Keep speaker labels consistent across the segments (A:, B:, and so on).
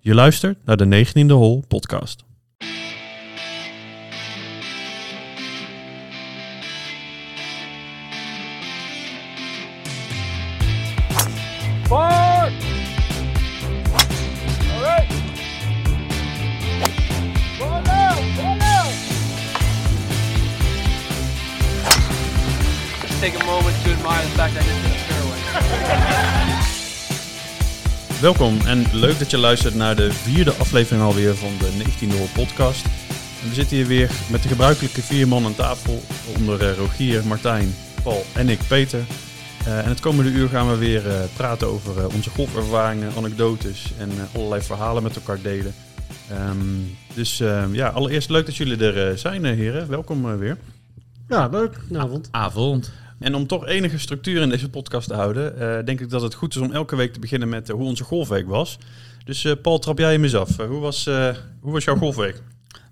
A: Je luistert naar de 19e Hol podcast.
B: Forward! All right. Ball out, ball out. Just take a moment to admire the fact I just hit a fairway.
A: Welkom en leuk dat je luistert naar de vierde aflevering alweer van de 19e Hol podcast. En we zitten hier weer met de gebruikelijke vier man aan tafel. Onder eh, Rogier, Martijn, Paul en ik, Peter. Eh, en het komende uur gaan we weer eh, praten over eh, onze golfervaringen, anekdotes en eh, allerlei verhalen met elkaar delen. Ehm, dus ehm, ja, allereerst leuk dat jullie er eh, zijn, eh, heren. Welkom eh, weer.
C: Ja, leuk. Goedenavond.
D: Avond.
A: En om toch enige structuur in deze podcast te houden, eh, denk ik dat het goed is om elke week te beginnen met eh, hoe onze golfweek was. Dus eh, Paul, trap jij hem eens af. Eh, hoe, was, eh, hoe was jouw golfweek?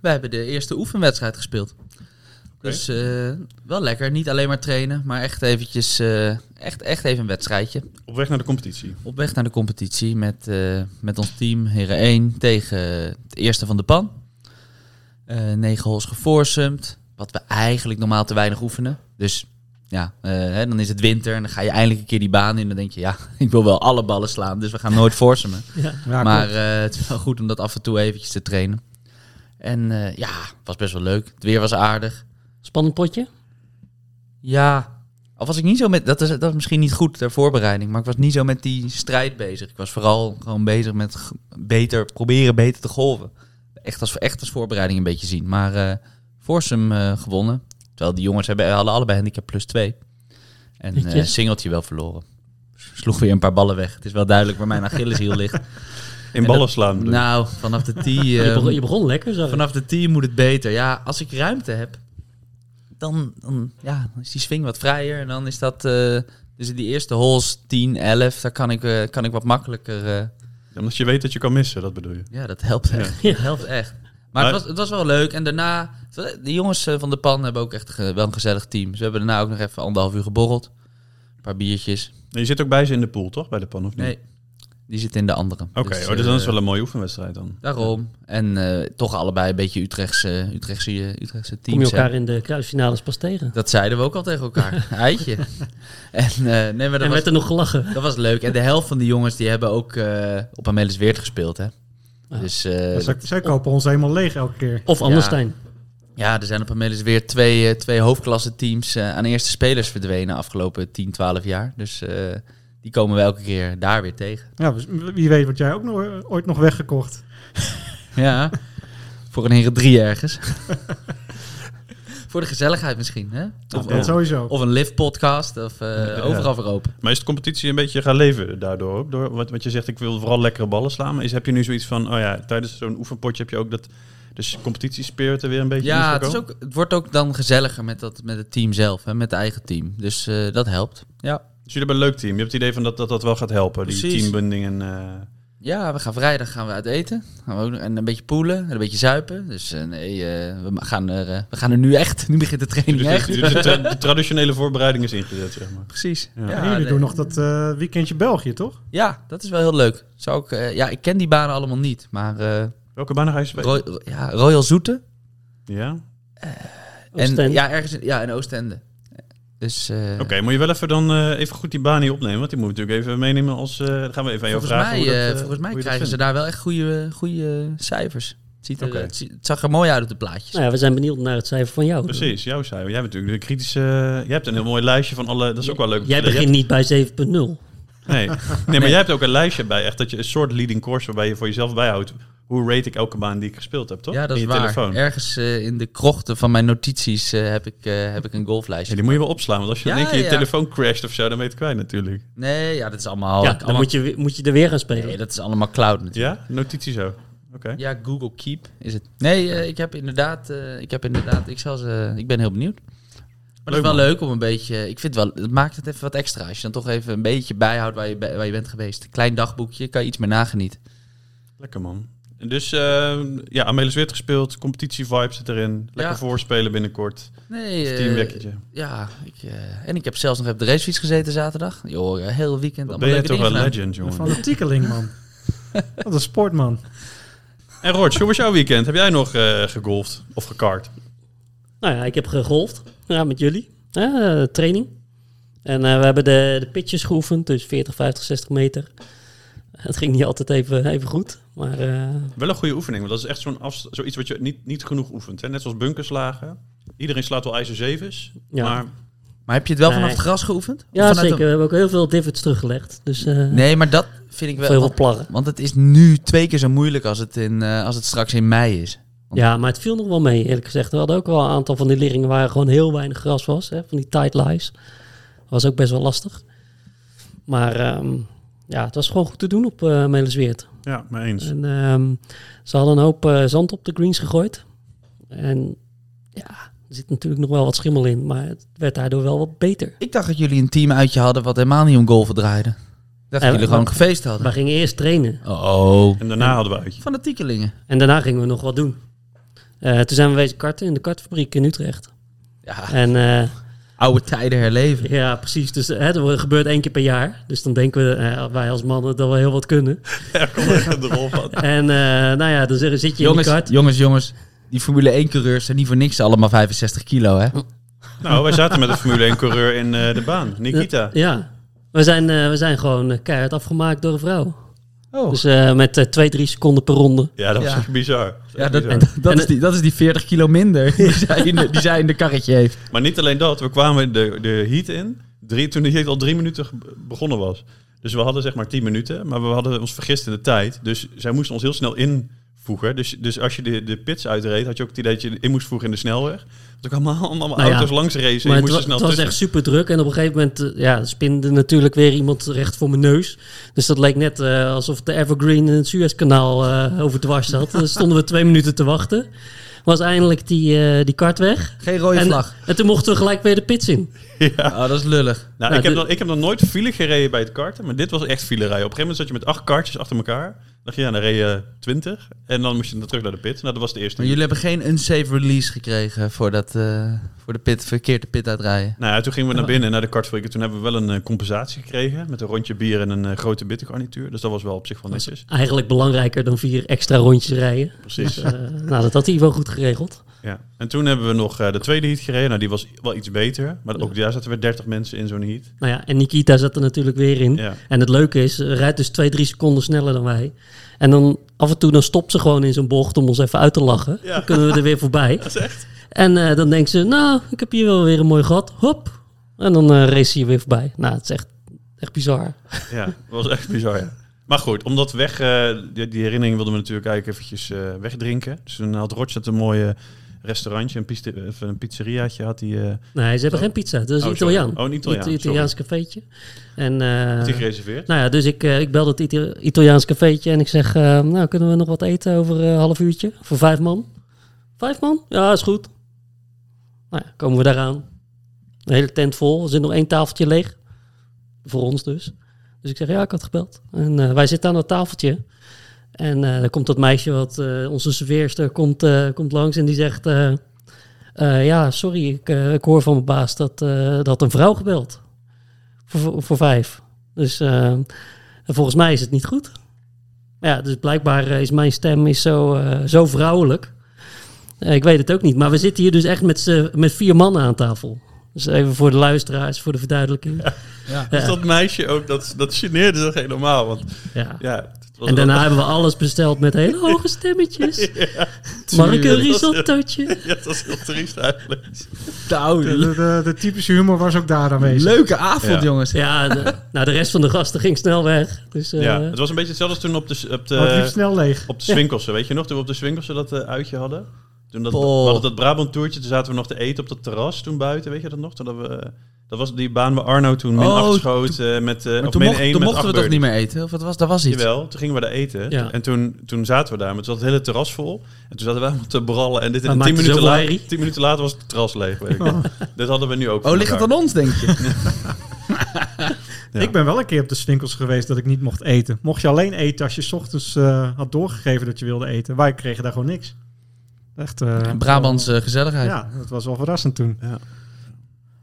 D: We hebben de eerste oefenwedstrijd gespeeld. Dus eh, wel lekker. Niet alleen maar trainen, maar echt eventjes, eh, echt, echt even een wedstrijdje.
A: Op weg naar de competitie.
D: Op weg naar de competitie met, eh, met ons team, Heren 1, tegen het eerste van de pan. Eh negen holes geforsumd, wat we eigenlijk normaal te weinig oefenen. Dus ja, eh, hè, dan is het winter en dan ga je eindelijk een keer die baan in. En dan denk je, ja, ik wil wel alle ballen slaan, dus we gaan nooit forsumen.
C: Ja,
D: maar eh, het is wel goed om dat af en toe eventjes te trainen. En eh, ja, was best wel leuk. Het weer was aardig.
C: Spannend potje.
D: Ja. Al was ik niet zo met... Dat is, dat is misschien niet goed ter voorbereiding. Maar ik was niet zo met die strijd bezig. Ik was vooral gewoon bezig met g- beter, proberen beter te golven. Echt als, echt als voorbereiding een beetje zien. Maar eh Forsum eh, gewonnen. Terwijl die jongens hebben, hadden allebei handicap plus 2. En eh,
C: Netjes.
D: singeltje wel verloren. Sloeg weer een paar ballen weg. Het is wel duidelijk waar mijn Achilleshiel ligt.
A: In
D: En
A: ballen
D: dat-
A: slaan. bedoel ik.
D: Nou, vanaf de tee...
C: je,
D: eh,
C: begon, je begon lekker, zag ik.
D: Vanaf de 10 moet het beter. Ja, als ik ruimte heb, dan, dan, ja, dan is die swing wat vrijer. En dan is dat. eh, dus in die eerste holes 10, 11, daar kan ik, eh, kan ik wat makkelijker. eh,
A: Omdat je weet dat je kan missen, dat bedoel je.
D: ja, dat helpt echt.
C: Ja.
D: Dat helpt echt. Maar het was, het was wel leuk. En daarna, de jongens eh, van de PAN hebben ook echt ge- wel een gezellig team. Ze hebben daarna ook nog even anderhalf uur geborreld. Een paar biertjes.
A: En je zit ook bij ze in de pool, toch? Bij de pan, of niet?
D: Nee, die zitten in de andere.
A: Oké, oh, dus dan is
D: eh,
A: het wel een mooie oefenwedstrijd dan.
D: Daarom. En eh, toch allebei een beetje Utrechtse, Utrechtse, Utrechtse teams.
C: Kom je
D: hè.
C: elkaar in de kruisfinales pas tegen.
D: Dat zeiden we ook al tegen elkaar. Eitje. En eh, nee, maar dat,
C: en
D: was,
C: werd er nog gelachen.
D: dat was leuk. En de helft van die jongens die hebben ook eh, op Amelis Weert gespeeld. Hè?
C: Ah.
D: Dus eh,
E: Zij, zij kopen ons helemaal leeg elke keer.
C: Of Anderstein.
D: ja, er zijn op Amelis Weert twee, eh, twee hoofdklasse teams eh, aan eerste spelers verdwenen afgelopen 10, 12 jaar. Dus eh, die komen we elke keer daar weer tegen.
E: Ja, dus wie weet wordt jij ook nog, eh, ooit nog weggekocht.
D: Ja, voor een heren drie ergens. voor de gezelligheid misschien. Hè? Of,
E: dat
D: of,
E: sowieso.
D: of een live podcast. Of eh,
A: Ja.
D: overal voor open.
A: Maar is de competitie een beetje gaan leven daardoor ook? Door, wat, wat je zegt, ik wil vooral lekkere ballen slaan. Maar is, heb je nu zoiets van, oh ja, tijdens zo'n oefenpotje heb je ook dat... Dus competitiespirit er weer een beetje in
D: Ja,
A: is
D: het, is
A: gekomen?
D: ook, het wordt ook dan gezelliger met, dat, met het team zelf, hè, met het eigen team. Dus eh, dat helpt. Ja.
A: Dus jullie hebben een leuk team. Je hebt het idee van dat dat, dat wel gaat helpen, die
D: Precies.
A: teambunding en... eh,
D: ja, we gaan vrijdag gaan we uit eten. Gaan we ook, nog- en een beetje poelen, en een beetje zuipen. Dus eh, nee, eh, we, ma- gaan er, eh, we gaan er nu echt. Nu begint de training
A: Dus
D: echt.
A: de, de tra- de traditionele voorbereiding is ingezet, zeg maar.
D: Precies.
A: Ja.
E: en jullie
D: nee.
E: doen nog dat eh, weekendje België, toch?
D: ja, dat is wel heel leuk. Zou ik, eh, ja, ik ken die banen allemaal niet. Maar eh,
A: Welke baan ga je spelen?
D: Roy- ja, Royal Zoete.
A: Ja?
D: En,
C: Oostende.
D: ja, ergens in, ja, in Oostende. Dus eh,
A: Oké, moet je wel even dan eh, even goed die baan hier opnemen. Want die moet je natuurlijk even meenemen als... eh, dan gaan we even aan jou
D: Volgens
A: vragen
D: mij,
A: hoe dat,
D: eh,
A: eh,
D: volgens mij
A: hoe je dat
D: krijgen ze
A: vindt.
D: daar wel echt goede, goede cijfers. Het, ziet er,
A: Oké.
D: het, zie- het zag er mooi uit op de plaatjes.
C: Nou ja, we zijn benieuwd naar het cijfer van jou.
A: Precies, jouw cijfer. Jij hebt natuurlijk de kritische... Jij hebt een heel mooi lijstje van alle... Dat is ook wel leuk. om te
C: Jij
A: lezen.
C: begint niet bij 7.0.
A: Nee. nee, maar jij hebt ook een lijstje bij. Echt dat je een soort leading course waarbij je voor jezelf bijhoudt. Hoe rate ik elke baan die ik gespeeld heb, toch?
D: Ja, dat
A: In
D: is
A: je
D: waar.
A: telefoon.
D: Ergens eh, in de krochten van mijn notities eh, heb, ik, eh, heb ik een
A: Ja,
D: golflijstje.
A: die moet je wel opslaan. Want als je dan
D: Ja,
A: een keer je
D: ja.
A: telefoon crasht of zo, dan ben je het kwijt natuurlijk.
D: Nee, ja, dat is allemaal...
C: ja, dan
D: allemaal
C: moet je, weer- moet je er weer gaan spelen.
D: nee, dat is allemaal cloud natuurlijk.
A: Ja? Notitie zo. Oké.
D: Ja, Google Keep is het. Nee, eh, ik heb inderdaad... eh, ik, heb inderdaad ik, zal ze, ik ben heel benieuwd. Maar
A: Leuk,
D: het is wel
A: man.
D: leuk om een beetje... Ik vind wel... Het maakt het even wat extra. Als je dan toch even een beetje bijhoudt waar je, bij- waar je bent geweest. Een klein dagboekje, kan je iets meer nagenieten.
A: Lekker man. En Dus eh, ja, Amelis Wit gespeeld, competitie vibe zit erin. Lekker
D: Ja.
A: voorspelen binnenkort.
D: Nee, eh,
A: Teamwekketje.
D: Ja, ik, eh, en ik heb zelfs nog even de racefiets gezeten zaterdag. Joh, eh, heel weekend.
A: Wat
D: allemaal
A: ben je
D: leuke
A: toch een
D: dingen gedaan.
A: legend,
E: Een
A: jongen.
E: fanatiekeling, man. Wat een sportman.
A: En Roch, hoe was jouw weekend? Heb jij nog eh gegolfd of gekart?
C: Nou ja, ik heb gegolfd ja, met jullie. Ja, eh, training. En eh, we hebben de, de pitches geoefend, dus 40, 50, 60 meter. Het ging niet altijd even, even goed, maar eh,
A: Wel een goede oefening, want dat is echt zo'n afs- zoiets wat je niet, niet genoeg oefent. Hè? Net zoals bunkerslagen. Iedereen slaat wel ijzer zevens,
C: Ja.
A: maar
D: Maar heb je het wel vanaf
C: Nee.
D: het gras geoefend? Of
C: ja,
D: vanuit
C: zeker. We
D: een-
C: hebben ook heel veel divots teruggelegd. Dus eh,
D: Nee, maar dat vind ik wel...
C: veel
D: want-
C: plarren.
D: Want het is nu twee keer zo moeilijk als het, in, eh, als het straks in mei is.
C: Ja, maar het viel nog wel mee, eerlijk gezegd. We hadden ook wel een aantal van die liggingen waar gewoon heel weinig gras was. Hè, van die tight lies. Dat was ook best wel lastig. Maar ehm, ja, het was gewoon goed te doen op eh Melisweert.
A: ja, mee eens.
C: En ehm, ze hadden een hoop eh, zand op de greens gegooid. En ja, er zit natuurlijk nog wel wat schimmel in. Maar het werd daardoor wel wat beter.
D: Ik dacht dat jullie een team uitje hadden wat helemaal niet om golven draaide. Ik dacht
C: Ja,
D: dat jullie
C: maar-
D: gewoon gefeest hadden.
C: We gingen eerst trainen.
D: Oh.
A: En daarna hadden we uitje.
D: Van de tiekelingen.
C: En daarna gingen we nog wat doen. Eh, toen zijn we wezen karten in de kartfabriek in Utrecht.
D: Ja,
C: En eh,
D: oude tijden herleven.
C: Ja, precies. Dus hè, dat gebeurt één keer per jaar. Dus dan denken we, eh, wij als mannen, dat we heel wat kunnen.
A: Ja, kom maar, de rol van.
C: En eh, nou ja, dan zeg- zit je
D: Jongens,
C: in de kart.
D: jongens, jongens. Die Formule 1-coureurs zijn niet voor niks allemaal 65 kilo, hè?
A: Nou, wij zaten met een Formule 1-coureur in eh, de baan, Nikita.
C: Ja. We zijn, eh, we zijn gewoon eh, keihard afgemaakt door een vrouw.
D: Oh.
C: Dus eh, met eh, twee, drie seconden per ronde.
A: Ja, dat was
D: Ja.
A: echt bizar. Dat was
D: ja,
A: echt
D: dat,
A: bizar.
D: dat,
C: en
D: is
C: het-
D: die, dat is die 40 kilo minder die, zij in de, die zij in de karretje heeft.
A: Maar niet alleen dat, we kwamen de, de heat in drie, toen de heat al drie minuten ge- begonnen was. Dus we hadden zeg maar tien minuten, maar we hadden ons vergist in de tijd. Dus zij moesten ons heel snel invoegen. Dus, dus als je de, de pits uitreed, had je ook het idee dat je in moest voegen in de snelweg. Want er kwamen allemaal, allemaal
C: Nou ja.
A: auto's langs racen en
C: Maar
A: je
C: het,
A: moest
C: wa-
A: er snel
C: het was
A: tussen.
C: echt super druk. En op een gegeven moment eh, ja, spinde natuurlijk weer iemand recht voor mijn neus. Dus dat leek net eh, alsof de Evergreen in het Suezkanaal eh overdwars zat. Dan stonden we twee minuten te wachten. Was eindelijk die, eh, die kart weg.
D: Geen rode
C: en,
D: vlag.
C: en toen mochten we gelijk weer de pits in.
D: Oh, dat is lullig.
A: Nou,
C: Nou,
A: ik, heb
C: de-
A: nog, ik heb nog nooit file gereden bij het karten, maar dit was echt file rijden. Op een gegeven moment zat je met acht kartjes achter elkaar. Dan dacht je, ja, dan reed je eh, twintig. En dan moest je terug naar de pit. Nou, dat was de eerste.
D: Maar jullie hebben geen unsafe release gekregen voor, dat, eh, voor de pit, verkeerd de pit uitrijden.
A: Nou ja, toen gingen we naar binnen, naar de kartfabriek. En Toen hebben we wel een eh, compensatie gekregen met een rondje bier en een eh, grote bittergarnituur. Dus dat was wel op zich wel netjes.
C: Eigenlijk belangrijker dan vier extra rondjes rijden.
A: Precies.
C: Eh, nou, dat had hij wel goed geregeld.
A: Ja. En toen hebben we nog eh, de tweede heat gereden. Nou, die was wel iets beter. Maar ook daar zaten weer 30 mensen in zo'n heat.
C: Nou ja, en Nikita zat er natuurlijk weer in.
A: Ja.
C: En het leuke is, hij rijdt dus twee, drie seconden sneller dan wij. En dan af en toe dan stopt ze gewoon in zo'n bocht om ons even uit te lachen.
A: Ja.
C: Dan kunnen we er weer voorbij.
A: Dat is echt.
C: En eh, dan denkt ze, nou, ik heb hier wel weer een mooi gat. Hop. En dan eh race je weer voorbij. Nou, het is echt, echt bizar.
A: Ja, dat was echt bizar. Ja. Maar goed, omdat weg, eh, die, die herinnering wilden we natuurlijk eigenlijk eventjes eh, wegdrinken. Dus toen had Rochester een mooie restaurantje, een, piste- of een pizzeriaatje had hij. eh,
C: Nee, ze hebben geen pizza. Dat is
A: Oh, sorry.
C: Italiaan.
A: Oh, een Italiaan,
C: Ita- Italiaans cafeetje. En, eh,
A: had hij gereserveerd.
C: Nou ja, dus ik, eh, ik bel dat Ita- Italiaans cafeetje en ik zeg, eh, nou kunnen we nog wat eten over eh, een half uurtje? Voor vijf man. Vijf man? Ja, is goed. Nou ja, komen we daaraan. De hele tent vol, er zit nog één tafeltje leeg. Voor ons dus. Dus ik zeg, ja, ik had gebeld. En eh, wij zitten aan dat tafeltje. En eh dan komt dat meisje, wat eh, onze serveerster, komt, eh, komt langs en die zegt... eh, eh, ja, sorry, ik, eh, ik hoor van mijn baas dat, eh, dat een vrouw gebeld. Voor, voor vijf. Dus eh, en volgens mij is het niet goed. Maar Ja, dus blijkbaar eh, is mijn stem is zo, eh, zo vrouwelijk. Eh, ik weet het ook niet. Maar we zitten hier dus echt met, z'n- met vier mannen aan tafel. Dus even voor de luisteraars, voor de verduidelijking. Ja.
A: Dus dat meisje ook, dat, dat geneerde zich helemaal. Want ja, het was wel-
C: En daarna hebben we alles besteld met hele hoge stemmetjes. Mag ik een
D: tuurlijk.
C: risottootje?
A: Ja, dat was heel triest eigenlijk.
D: Nou,
E: De, de, de, de typische humor was ook daar aanwezig.
D: leuke avond,
A: Ja.
D: jongens.
C: Ja, de, nou, de rest van de gasten ging snel weg. Dus, eh,
A: Ja, het was een beetje hetzelfde als toen op de, op
E: Maar het liep
A: de,
E: snel leeg.
A: op de Swinkelsen, weet je nog? Toen we op de Swinkelsen dat eh, uitje hadden. Toen dat, we
D: Oh.
A: hadden dat Brabant toertje, toen zaten we nog te eten op dat terras toen buiten, weet je dat nog? Toen hadden we, eh, dat was die baan waar Arno toen min
D: Oh,
A: 8 schoot eh, met, eh
D: Maar
A: of
D: toen,
A: min
D: mocht-
A: 1
D: toen
A: met
D: mochten we
A: acht
D: toch
A: birdies.
D: niet meer eten? Of wat was, dat was iets.
A: Jawel, toen gingen we daar eten
C: Ja.
A: en toen, toen zaten we daar, maar toen zat het hele terras vol. En toen zaten we allemaal te brallen en dit
C: Maar
A: en
C: maakte
A: 10 minuten,
C: zoveel
A: la-
C: herrie.
A: 10 minuten later was het terras leeg. Weet ik. Dit hadden we nu ook.
D: Oh,
A: voor
D: ligt het
A: elkaar.
D: aan ons, denk je?
A: Ja.
E: Ik ben wel een keer op de swinkels geweest dat ik niet mocht eten. Mocht je alleen eten als je 's ochtends eh, had doorgegeven dat je wilde eten. Wij kregen daar gewoon niks. Echt. eh,
D: Brabantse eh, gezelligheid.
E: Ja, dat was wel verrassend toen.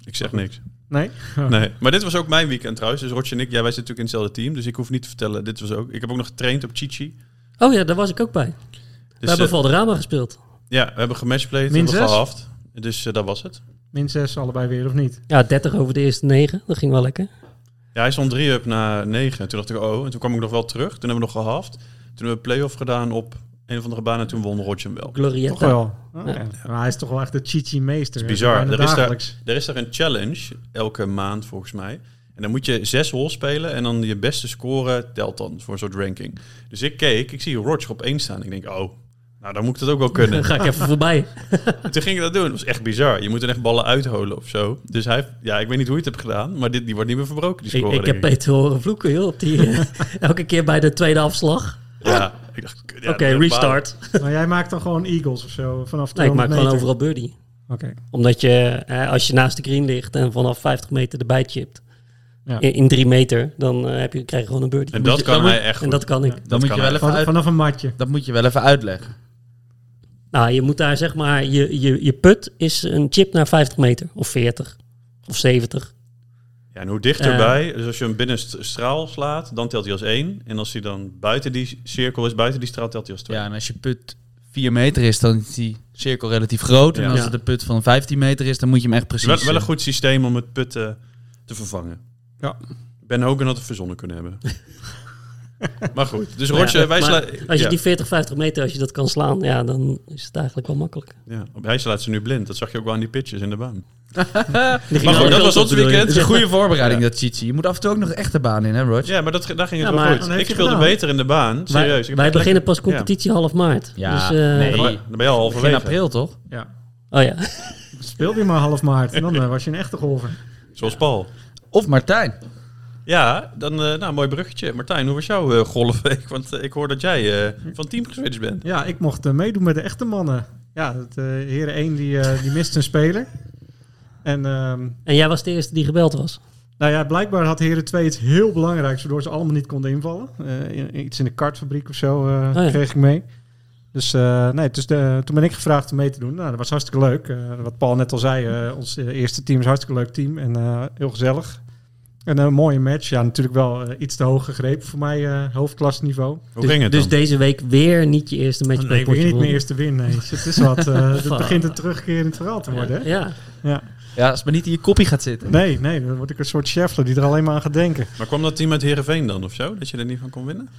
A: Ik zeg niks.
E: Nee?
A: Nee, maar dit was ook mijn weekend trouwens. Dus Roger en ik, jij wij zitten natuurlijk in hetzelfde team. Dus ik hoef niet te vertellen, dit was ook... Ik heb ook nog getraind op Chichi.
C: Oh ja, daar was ik ook bij.
A: Dus,
C: We hebben
A: eh,
C: Valderrama gespeeld.
A: ja, we hebben gematchplayed, we
E: Min
A: hebben
E: zes?
A: gehaft. Dus eh, dat was het.
E: Min 6 allebei weer, of niet?
C: Ja, 30 over de eerste 9. Dat ging wel lekker.
A: Ja, hij stond 3 up na 9. Toen dacht ik, oh, en toen kwam ik nog wel terug. Toen hebben we nog gehaft. Toen hebben we play-off gedaan op een of andere baan en toen won Roger hem wel.
E: Toch
C: Glorietta.
A: Oh,
E: wel. Oké. Maar hij is toch wel echt de Chichi meester.
A: Het is bizar.
E: Bijna
A: Er is, daar,
E: dagelijks.
A: er is daar een challenge elke maand volgens mij. En dan moet je zes holes spelen en dan je beste score telt dan voor een soort ranking. Dus ik keek, ik zie Roger op één staan. Ik denk, oh, nou dan moet ik dat ook wel kunnen.
C: Dan ga ik even voorbij.
A: Toen ging ik dat doen. Dat was echt bizar. Je moet er echt ballen uitholen of zo. Dus hij, heeft- ja, ik weet niet hoe je het hebt gedaan, maar dit, die wordt niet meer verbroken, die
C: Ik,
A: score.
C: ik heb
A: denk
C: Peter horen vloeken, joh. Op die, eh, elke keer bij de tweede afslag.
A: Ja, ik dacht, kut, ja,
C: Oké,
A: dat-
C: restart.
E: Maar jij maakt dan gewoon eagles of zo vanaf
C: Nee, ik
E: 200
C: maak gewoon
E: meter.
C: overal birdie.
E: Oké.
C: Omdat je, eh, als je naast de green ligt en vanaf 50 meter erbij chipt,
E: Ja.
C: in, in drie meter, dan eh, heb je, krijg je gewoon een birdie.
A: En
C: Moet
A: dat
C: je-
A: kan
C: dan
A: hij
C: moet-
A: echt
C: En
A: goed.
C: dat kan ik.
A: Dat
D: Dat, moet
A: kan
D: je wel
A: hij.
D: even
E: Van,
D: uit,
E: vanaf een matje.
D: dat moet je wel even uitleggen.
C: Nou, je moet daar zeg maar, je, je, je put is een chip naar 50 meter, of 40, of 70.
A: Ja, en hoe dichterbij,
C: Eh.
A: dus als je hem binnen st- straal slaat, dan telt hij als één. En als hij dan buiten die cirkel is, buiten die straal, telt hij als twee.
D: Ja, en als je put 4 meter is, dan is die cirkel relatief groot.
A: Ja.
D: En als
C: Ja.
D: het een put van 15 meter is, dan moet je hem echt
A: Het
D: precies...
A: is Dus wel, wel een
D: eh,
A: goed systeem om het put eh, te vervangen.
E: Ja.
A: Ben Hogan had het verzonnen kunnen hebben. maar goed, dus
C: Maar
A: Roger,
C: Nou ja,
A: wij
C: maar
A: sla-
C: Als je
A: ja,
C: die 40, 50 meter, als je dat kan slaan, ja, dan is het eigenlijk wel makkelijk.
A: ja, hij slaat ze nu blind. Dat zag je ook wel aan die pitches in de baan.
C: Die
A: Maar
C: ging
A: goed, dat was
C: alle kanten op,
A: ons
C: bedoel je?
A: weekend.
D: Het is een goede voorbereiding, dat Chichi. Je moet af en toe ook nog echt de baan in, hè, Roger?
A: Ja, maar dat, daar ging het
C: Ja,
A: wel
C: maar-
A: goed.
E: dan heeft
A: Ik
E: hij
A: speelde
E: gedaan.
A: beter in de baan,
C: Wij-
A: serieus.
C: Wij,
A: Ik heb
C: beginnen pas
A: lekker-
C: competitie half maart.
D: Ja,
C: dus, eh,
D: nee.
A: Ja, maar dan ben je al
D: Begin
A: halverwege.
D: april, toch?
E: Ja.
C: Oh ja.
E: Speel die maar half maart. En dan eh, was je een echte golfer.
A: Zoals Paul.
D: Of Martijn.
A: Ja, dan eh, nou, mooi bruggetje. Martijn, hoe was jouw eh, golfweek? Want eh, ik hoor dat jij eh, van team geswitcht bent.
E: Ja, ik mocht eh, meedoen met de echte mannen. Ja, het, eh heren 1 die, eh, die mist een speler. En ehm,
C: En jij was de eerste die gebeld was.
E: Nou ja, blijkbaar had Heren 2 iets heel belangrijks, waardoor ze allemaal niet konden invallen. Eh, in- iets in de kartfabriek of zo eh,
C: Oh ja.
E: kreeg ik mee. Dus eh, nee, dus de, toen ben ik gevraagd om mee te doen. Nou, dat was hartstikke leuk. Eh, wat Paul net al zei, eh, ons eh, eerste team is een hartstikke leuk team en eh, heel gezellig. En een mooie match. Ja, natuurlijk wel eh, iets te hoog gegrepen voor mij, eh, hoofdklasniveau.
A: Hoe
C: dus,
A: ging het
C: dus
A: dan?
C: deze week weer niet je eerste match
E: Nee,
C: bij
E: weer niet
C: Portugal.
E: mijn eerste win. Nee, het is wat. eh, het
C: Fuck.
E: begint een terugkerend verhaal te worden. Hè?
C: Ja.
D: Ja, als het maar niet in je koppie gaat zitten.
E: Nee, nee, dan word ik een soort Scheffler die er alleen maar aan gaat denken.
A: Maar kwam dat team uit Heerenveen dan of zo? Dat je er niet van kon winnen?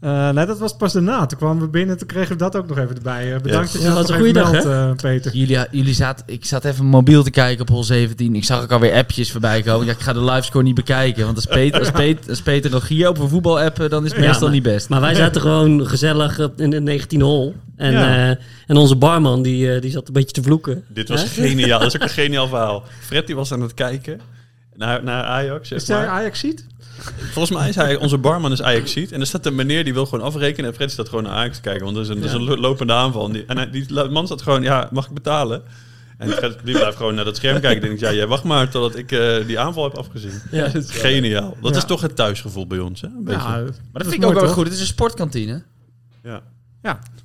E: Eh, nee, dat was pas daarna. Toen kwamen we binnen, toen kregen we dat ook nog even erbij. Eh,
A: Ja.
E: bedankt dat je
C: Ja,
E: dat
C: dat was
E: nog
C: een
E: even
C: goeie dag,
E: meldt, eh, Peter.
D: Jullie, jullie zaten, ik zat even mobiel te kijken op hol 17. Ik zag ook alweer appjes voorbij komen. Ja, ik ga de livescore niet bekijken. Want als Peter, als Peter, als Peter Rogier over voetbal appen, dan is het
C: Ja,
D: meestal niet best.
C: Maar wij zaten gewoon gezellig op- in de 19 hol. En,
E: Ja.
C: eh, en onze barman die, eh, die zat een beetje te vloeken.
A: Dit was
C: Hè?
A: geniaal. Dat is ook een geniaal verhaal. Fred die was aan het kijken naar, naar Ajax. Zeg
E: Is jij
A: maar.
E: Ajax ziet?
A: Volgens mij is hij, onze barman is Ajax ziet. En er staat een meneer die wil gewoon afrekenen. En Fred staat gewoon naar Ajax te kijken. Want dat is een, dat is een lo- lopende aanval. En die, en hij- die la- man staat gewoon, ja, mag ik betalen? En Fred die blijft gewoon naar dat scherm kijken. En ik ja, jij wacht maar totdat ik eh, die aanval heb afgezien.
C: Ja.
A: Geniaal. Dat
E: Ja.
A: is toch het thuisgevoel bij ons, hè? Een beetje. Ja.
D: Maar dat vind ik ook wel goed. Het is een sportkantine.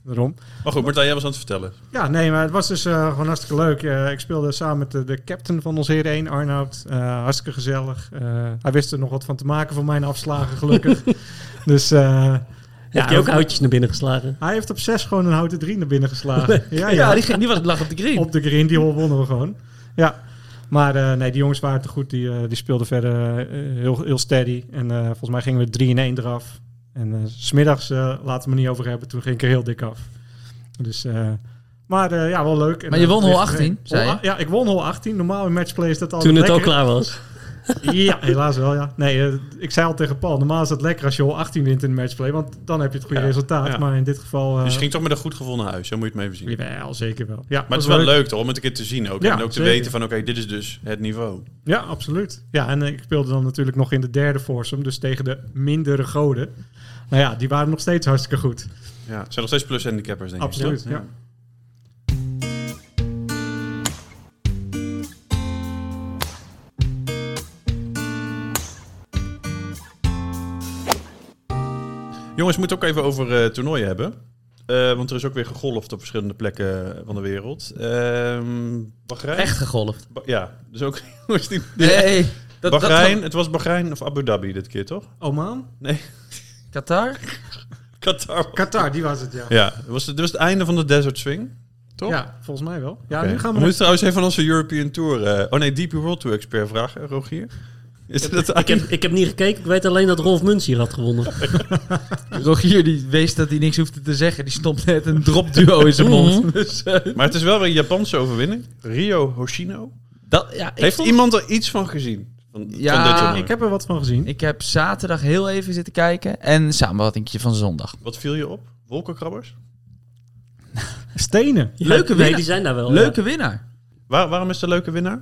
E: Daarom.
A: Maar goed, Martijn, jij was aan het vertellen.
E: Ja, nee, maar het was dus eh, gewoon hartstikke leuk. Eh, ik speelde samen met de, de captain van ons Heer 1, Arnoud. Eh, hartstikke gezellig. Eh, hij wist er nog wat van te maken van mijn afslagen, gelukkig. dus eh,
C: Heb je ook houtjes naar binnen geslagen?
E: hij heeft op zes gewoon een houten drie naar binnen geslagen. ja, ja.
D: die, ging- die was lag op de green.
E: op de green, die hol wonnen we gewoon. Ja, maar eh, nee, die jongens waren te goed. Die, eh, die speelden verder eh, heel, heel steady. En eh, volgens mij gingen we 3 in 1 eraf. En eh, s smiddags, eh, laten we het niet over hebben, toen ging ik er heel dik af. Dus, eh, maar eh, ja, wel leuk. En,
D: Maar je
E: eh,
D: won hol
E: toen-
D: 18, zei je?
E: Hol a- Ja, ik won hol 18. Normaal in matchplay is dat altijd
C: Toen het al
E: lekker.
C: klaar was.
E: Ja, helaas wel, ja. Nee, eh, ik zei al tegen Paul, normaal is het lekker als je hol 18 wint in een matchplay, want dan heb je het goede
A: Ja,
E: resultaat.
A: ja.
E: Maar in dit geval... eh
A: Dus je ging toch met een goed gevoel naar huis. Zo moet je het mee even zien.
E: Jawel, zeker wel. Ja,
A: Maar
E: was
A: het is wel leuk toch, om het een keer te zien ook.
E: Ja,
A: en ook te
E: zeker.
A: weten van, oké, dit is dus het niveau.
E: Ja, absoluut. Ja, en eh, ik speelde dan natuurlijk nog in de derde foursome, dus tegen de mindere goden. Nou ja, die waren nog steeds hartstikke goed.
A: Ja. Het zijn nog steeds plus handicappers, denk ik.
E: Absoluut. Ja.
A: Jongens, we moeten het ook even over eh toernooien hebben. Eh, want er is ook weer gegolfd op verschillende plekken van de wereld. Ehm Bahrein?
D: Echt gegolfd.
A: Ba- ja, dus ook... was die-
D: Nee. Dat, dat-
A: Bahrein, het was Bahrein of Abu Dhabi dit keer, toch?
E: Oman?
D: Qatar?
A: Qatar.
E: Qatar, die was het, ja.
A: Ja, dat was, het- dit was het einde van de Desert Swing. Toch?
E: Ja, volgens mij wel. Ja,
A: Oké.
E: nu gaan
A: we
E: we...
A: moeten trouwens even aan onze European Tour... eh, oh nee, DP World Tour expert vragen, Rogier. Is dat
C: Ik heb, ik heb niet gekeken. Ik weet alleen dat Rolf Muns hier had gewonnen.
D: Rogier die wees dat hij niks hoefde te zeggen. Die stopt net een dropduo in zijn mond. Dus, eh,
A: Maar het is wel weer een Japanse overwinning. Rio Hoshino.
D: dat, ja, ik
A: Heeft
D: vond-
A: iemand er iets van gezien? Van,
D: Ja,
A: van dit toernooi?
E: Ik heb er wat van gezien.
D: Ik heb zaterdag heel even zitten kijken. En een samenvattingje van zondag.
A: Wat viel je op? Wolkenkrabbers?
E: Stenen.
C: Ja,
D: Leuke
C: Nee,
D: winnaar.
C: die zijn daar wel.
D: Leuke winnaar.
A: Waar- waarom is de leuke winnaar?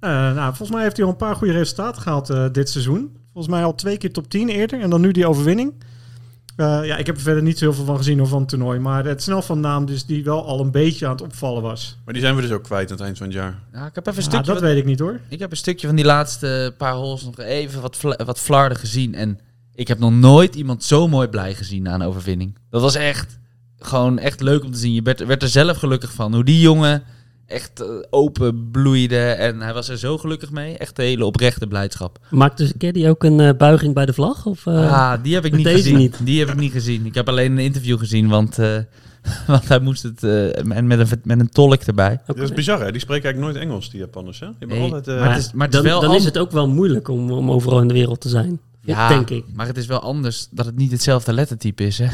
E: Eh, nou, volgens mij heeft hij al een paar goede resultaten gehaald eh, dit seizoen. Volgens mij al twee keer top 10 eerder en dan nu die overwinning. Eh, ja, ik heb er verder niet zo heel veel van gezien of van het toernooi. Maar het snel van naam dus die wel al een beetje aan het opvallen was.
A: Maar die zijn we dus ook kwijt aan het eind van het jaar.
D: Ja, ik, heb even een
E: Ah,
D: stukje
E: dat
D: van-
E: weet ik niet hoor.
D: ik heb een stukje van die laatste paar holes nog even wat, vla- wat flarden gezien. En ik heb nog nooit iemand zo mooi blij gezien na een overwinning. Dat was echt gewoon echt leuk om te zien. Je werd, werd er zelf gelukkig van. Hoe die jongen echt eh, open bloeide. En hij was er zo gelukkig mee. Echt een hele oprechte blijdschap.
C: Maakte Caddy ook een eh, buiging bij de vlag? Of, eh,
D: ah, die heb ik niet
C: deze
D: gezien.
C: niet.
D: Die heb ik niet gezien. Ik heb alleen een interview gezien, want, eh, want hij moest het eh, en met een, ver- met een tolk erbij.
C: oké.
A: Dat is bizar, hè? Die spreken eigenlijk nooit Engels, die Japanners, hè? Die hebben
D: Nee,
A: altijd... eh,
D: maar het is- maar het is
C: dan
D: wel
C: dan
D: an-
C: is het ook wel moeilijk om, om overal in de wereld te zijn. Denk ik.
D: Maar het is wel anders dat het niet hetzelfde lettertype is, hè?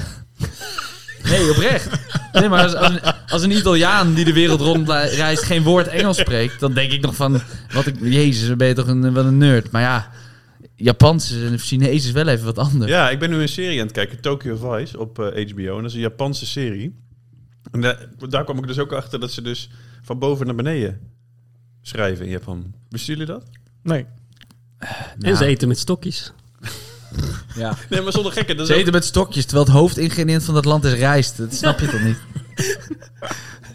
D: Nee, oprecht. Nee, maar als, als, een, als een Italiaan die de wereld rondreist geen woord Engels spreekt, dan denk ik nog van, wat ik, jezus, dan ben je toch een, wat een nerd. Maar ja, Japans en Chinees is wel even wat anders.
A: Ja, ik ben nu een serie aan het kijken, Tokyo Vice, op eh, HBO. En dat is een Japanse serie. En daar, daar kwam ik dus ook achter dat ze dus van boven naar beneden schrijven in Japan. Wisten jullie dat?
E: Nee.
D: Nou,
C: En ze eten met stokjes.
D: ja.
A: Nee, maar zonder gekken. Dat
D: Ze
A: is
D: eten met stokjes, terwijl het hoofdingrediënt van dat land is rijst. Dat snap je toch niet?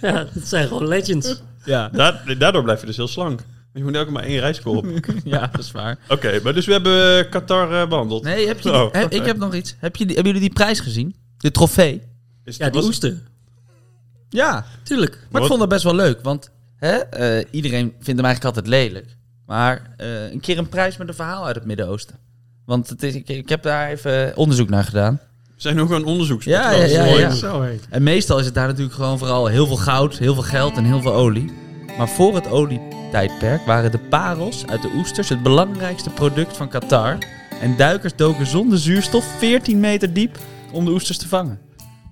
C: Ja, dat zijn gewoon legends.
D: Ja,
A: ook- Daar- daardoor blijf je dus heel slank. Want Je moet elke maar één rijstkool op. Oké,
D: ja dat is waar.
A: maar dus we hebben eh, Qatar eh, behandeld.
D: Nee, heb je,
A: Oh,
D: he-
A: oké.
D: ik heb nog iets. Heb je die, hebben jullie die prijs gezien? De trofee?
A: Is het-
C: Ja, die
A: was-
C: oester.
D: Ja.
C: Tuurlijk.
D: Maar
A: Wat?
D: ik vond dat best wel leuk, want hè, eh, iedereen vindt hem eigenlijk altijd lelijk. Maar eh, een keer een prijs met een verhaal uit het Midden-Oosten. Want het is, ik, ik heb daar even onderzoek naar gedaan.
A: we zijn ook een onderzoekspodcast.
D: Ja, ja, ja,
A: Mooi.
D: ja.
E: Zo hé.
D: En meestal is het daar natuurlijk gewoon vooral heel veel goud, heel veel geld en heel veel olie. Maar voor het olietijdperk waren de parels uit de oesters het belangrijkste product van Qatar. En duikers doken zonder zuurstof 14 meter diep om de oesters te vangen.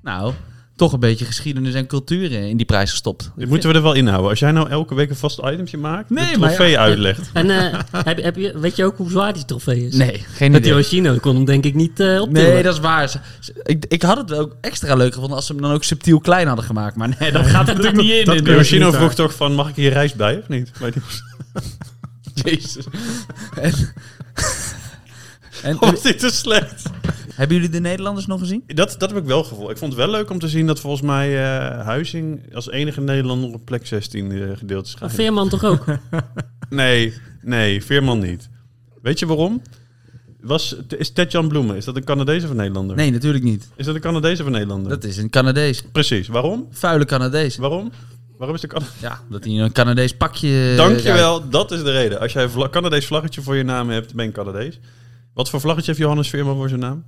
D: Nou, toch een beetje geschiedenis en cultuur in die prijs gestopt.
A: Dit moeten we er wel inhouden. Als jij nou elke week een vast itemje maakt,
D: Nee,
A: nee, de
D: maar
A: trofee uitlegt.
C: En eh, heb, heb je, weet je ook hoe zwaar die trofee is?
D: Nee, geen
C: Dat die
D: idee.
C: Hoshino kon hem denk ik niet eh optillen.
D: Nee, dat is waar. Ze- ze- Ik, ik had het ook extra leuk gevonden als ze hem dan ook subtiel klein hadden gemaakt. Maar nee, dat gaat er natuurlijk niet in.
E: dat
D: in de-
E: kun je niet eh,
A: Yoshino
E: uit.
A: vroeg toch van, mag ik hier rijst bij of niet? Maar die-
D: Jezus. En, en,
A: was dit te slecht?
D: hebben jullie de Nederlanders nog gezien?
A: Dat, dat heb ik wel gevoeld. Ik vond het wel leuk om te zien dat volgens mij eh, Huizing als enige Nederlander op plek 16 eh, gedeeld is. geëindigd.
C: Veerman toch ook?
A: Nee, nee, Veerman niet. Weet je waarom? Was, is Tedjan Bloemen, is dat een Canadees of een Nederlander?
D: Nee, natuurlijk
E: Oh.
D: niet.
A: Is dat een Canadees of een Nederlander?
D: Dat is een Canadees.
A: Precies, waarom?
D: Vuile Canadees.
A: Waarom? Waarom is de Canadees?
D: Ja, dat hij in een Canadees pakje... eh,
A: Dankjewel, dat is de reden. Als jij een vla- Canadees vlaggetje voor je naam hebt, ben je Canadees. Wat voor vlaggetje heeft Johannes Veerman voor zijn naam?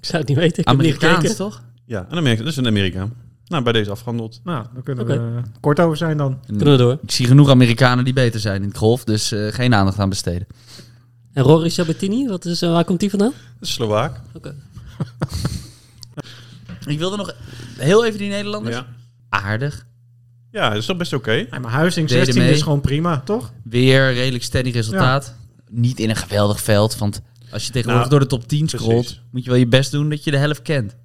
C: Ik zou het niet weten. Ik heb niet
D: Amerikaans,
C: gekeken.
D: toch?
A: Ja, een Amerika, dat is een Amerikaan. Nou, bij deze afgehandeld.
E: Nou, dan kunnen we eh, kort over zijn dan.
C: Kunnen we door.
D: Ik zie genoeg Amerikanen die beter zijn in het golf, dus eh, geen aandacht aan besteden.
C: En Rory Sabatini, wat is, eh, waar komt die vandaan?
A: Dat is Slovaak.
D: Ik wilde nog heel even die Nederlanders.
A: Ja.
D: Aardig.
A: ja, dat is toch best oké.
E: Ja, maar Huizing
D: Deden
E: 16
D: mee.
E: is gewoon prima, toch?
D: Weer redelijk steady resultaat. Niet in een geweldig veld, want als je tegenwoordig
A: Nou,
D: door de top 10 scrolt,
A: precies.
D: moet je wel je best doen dat je de helft kent.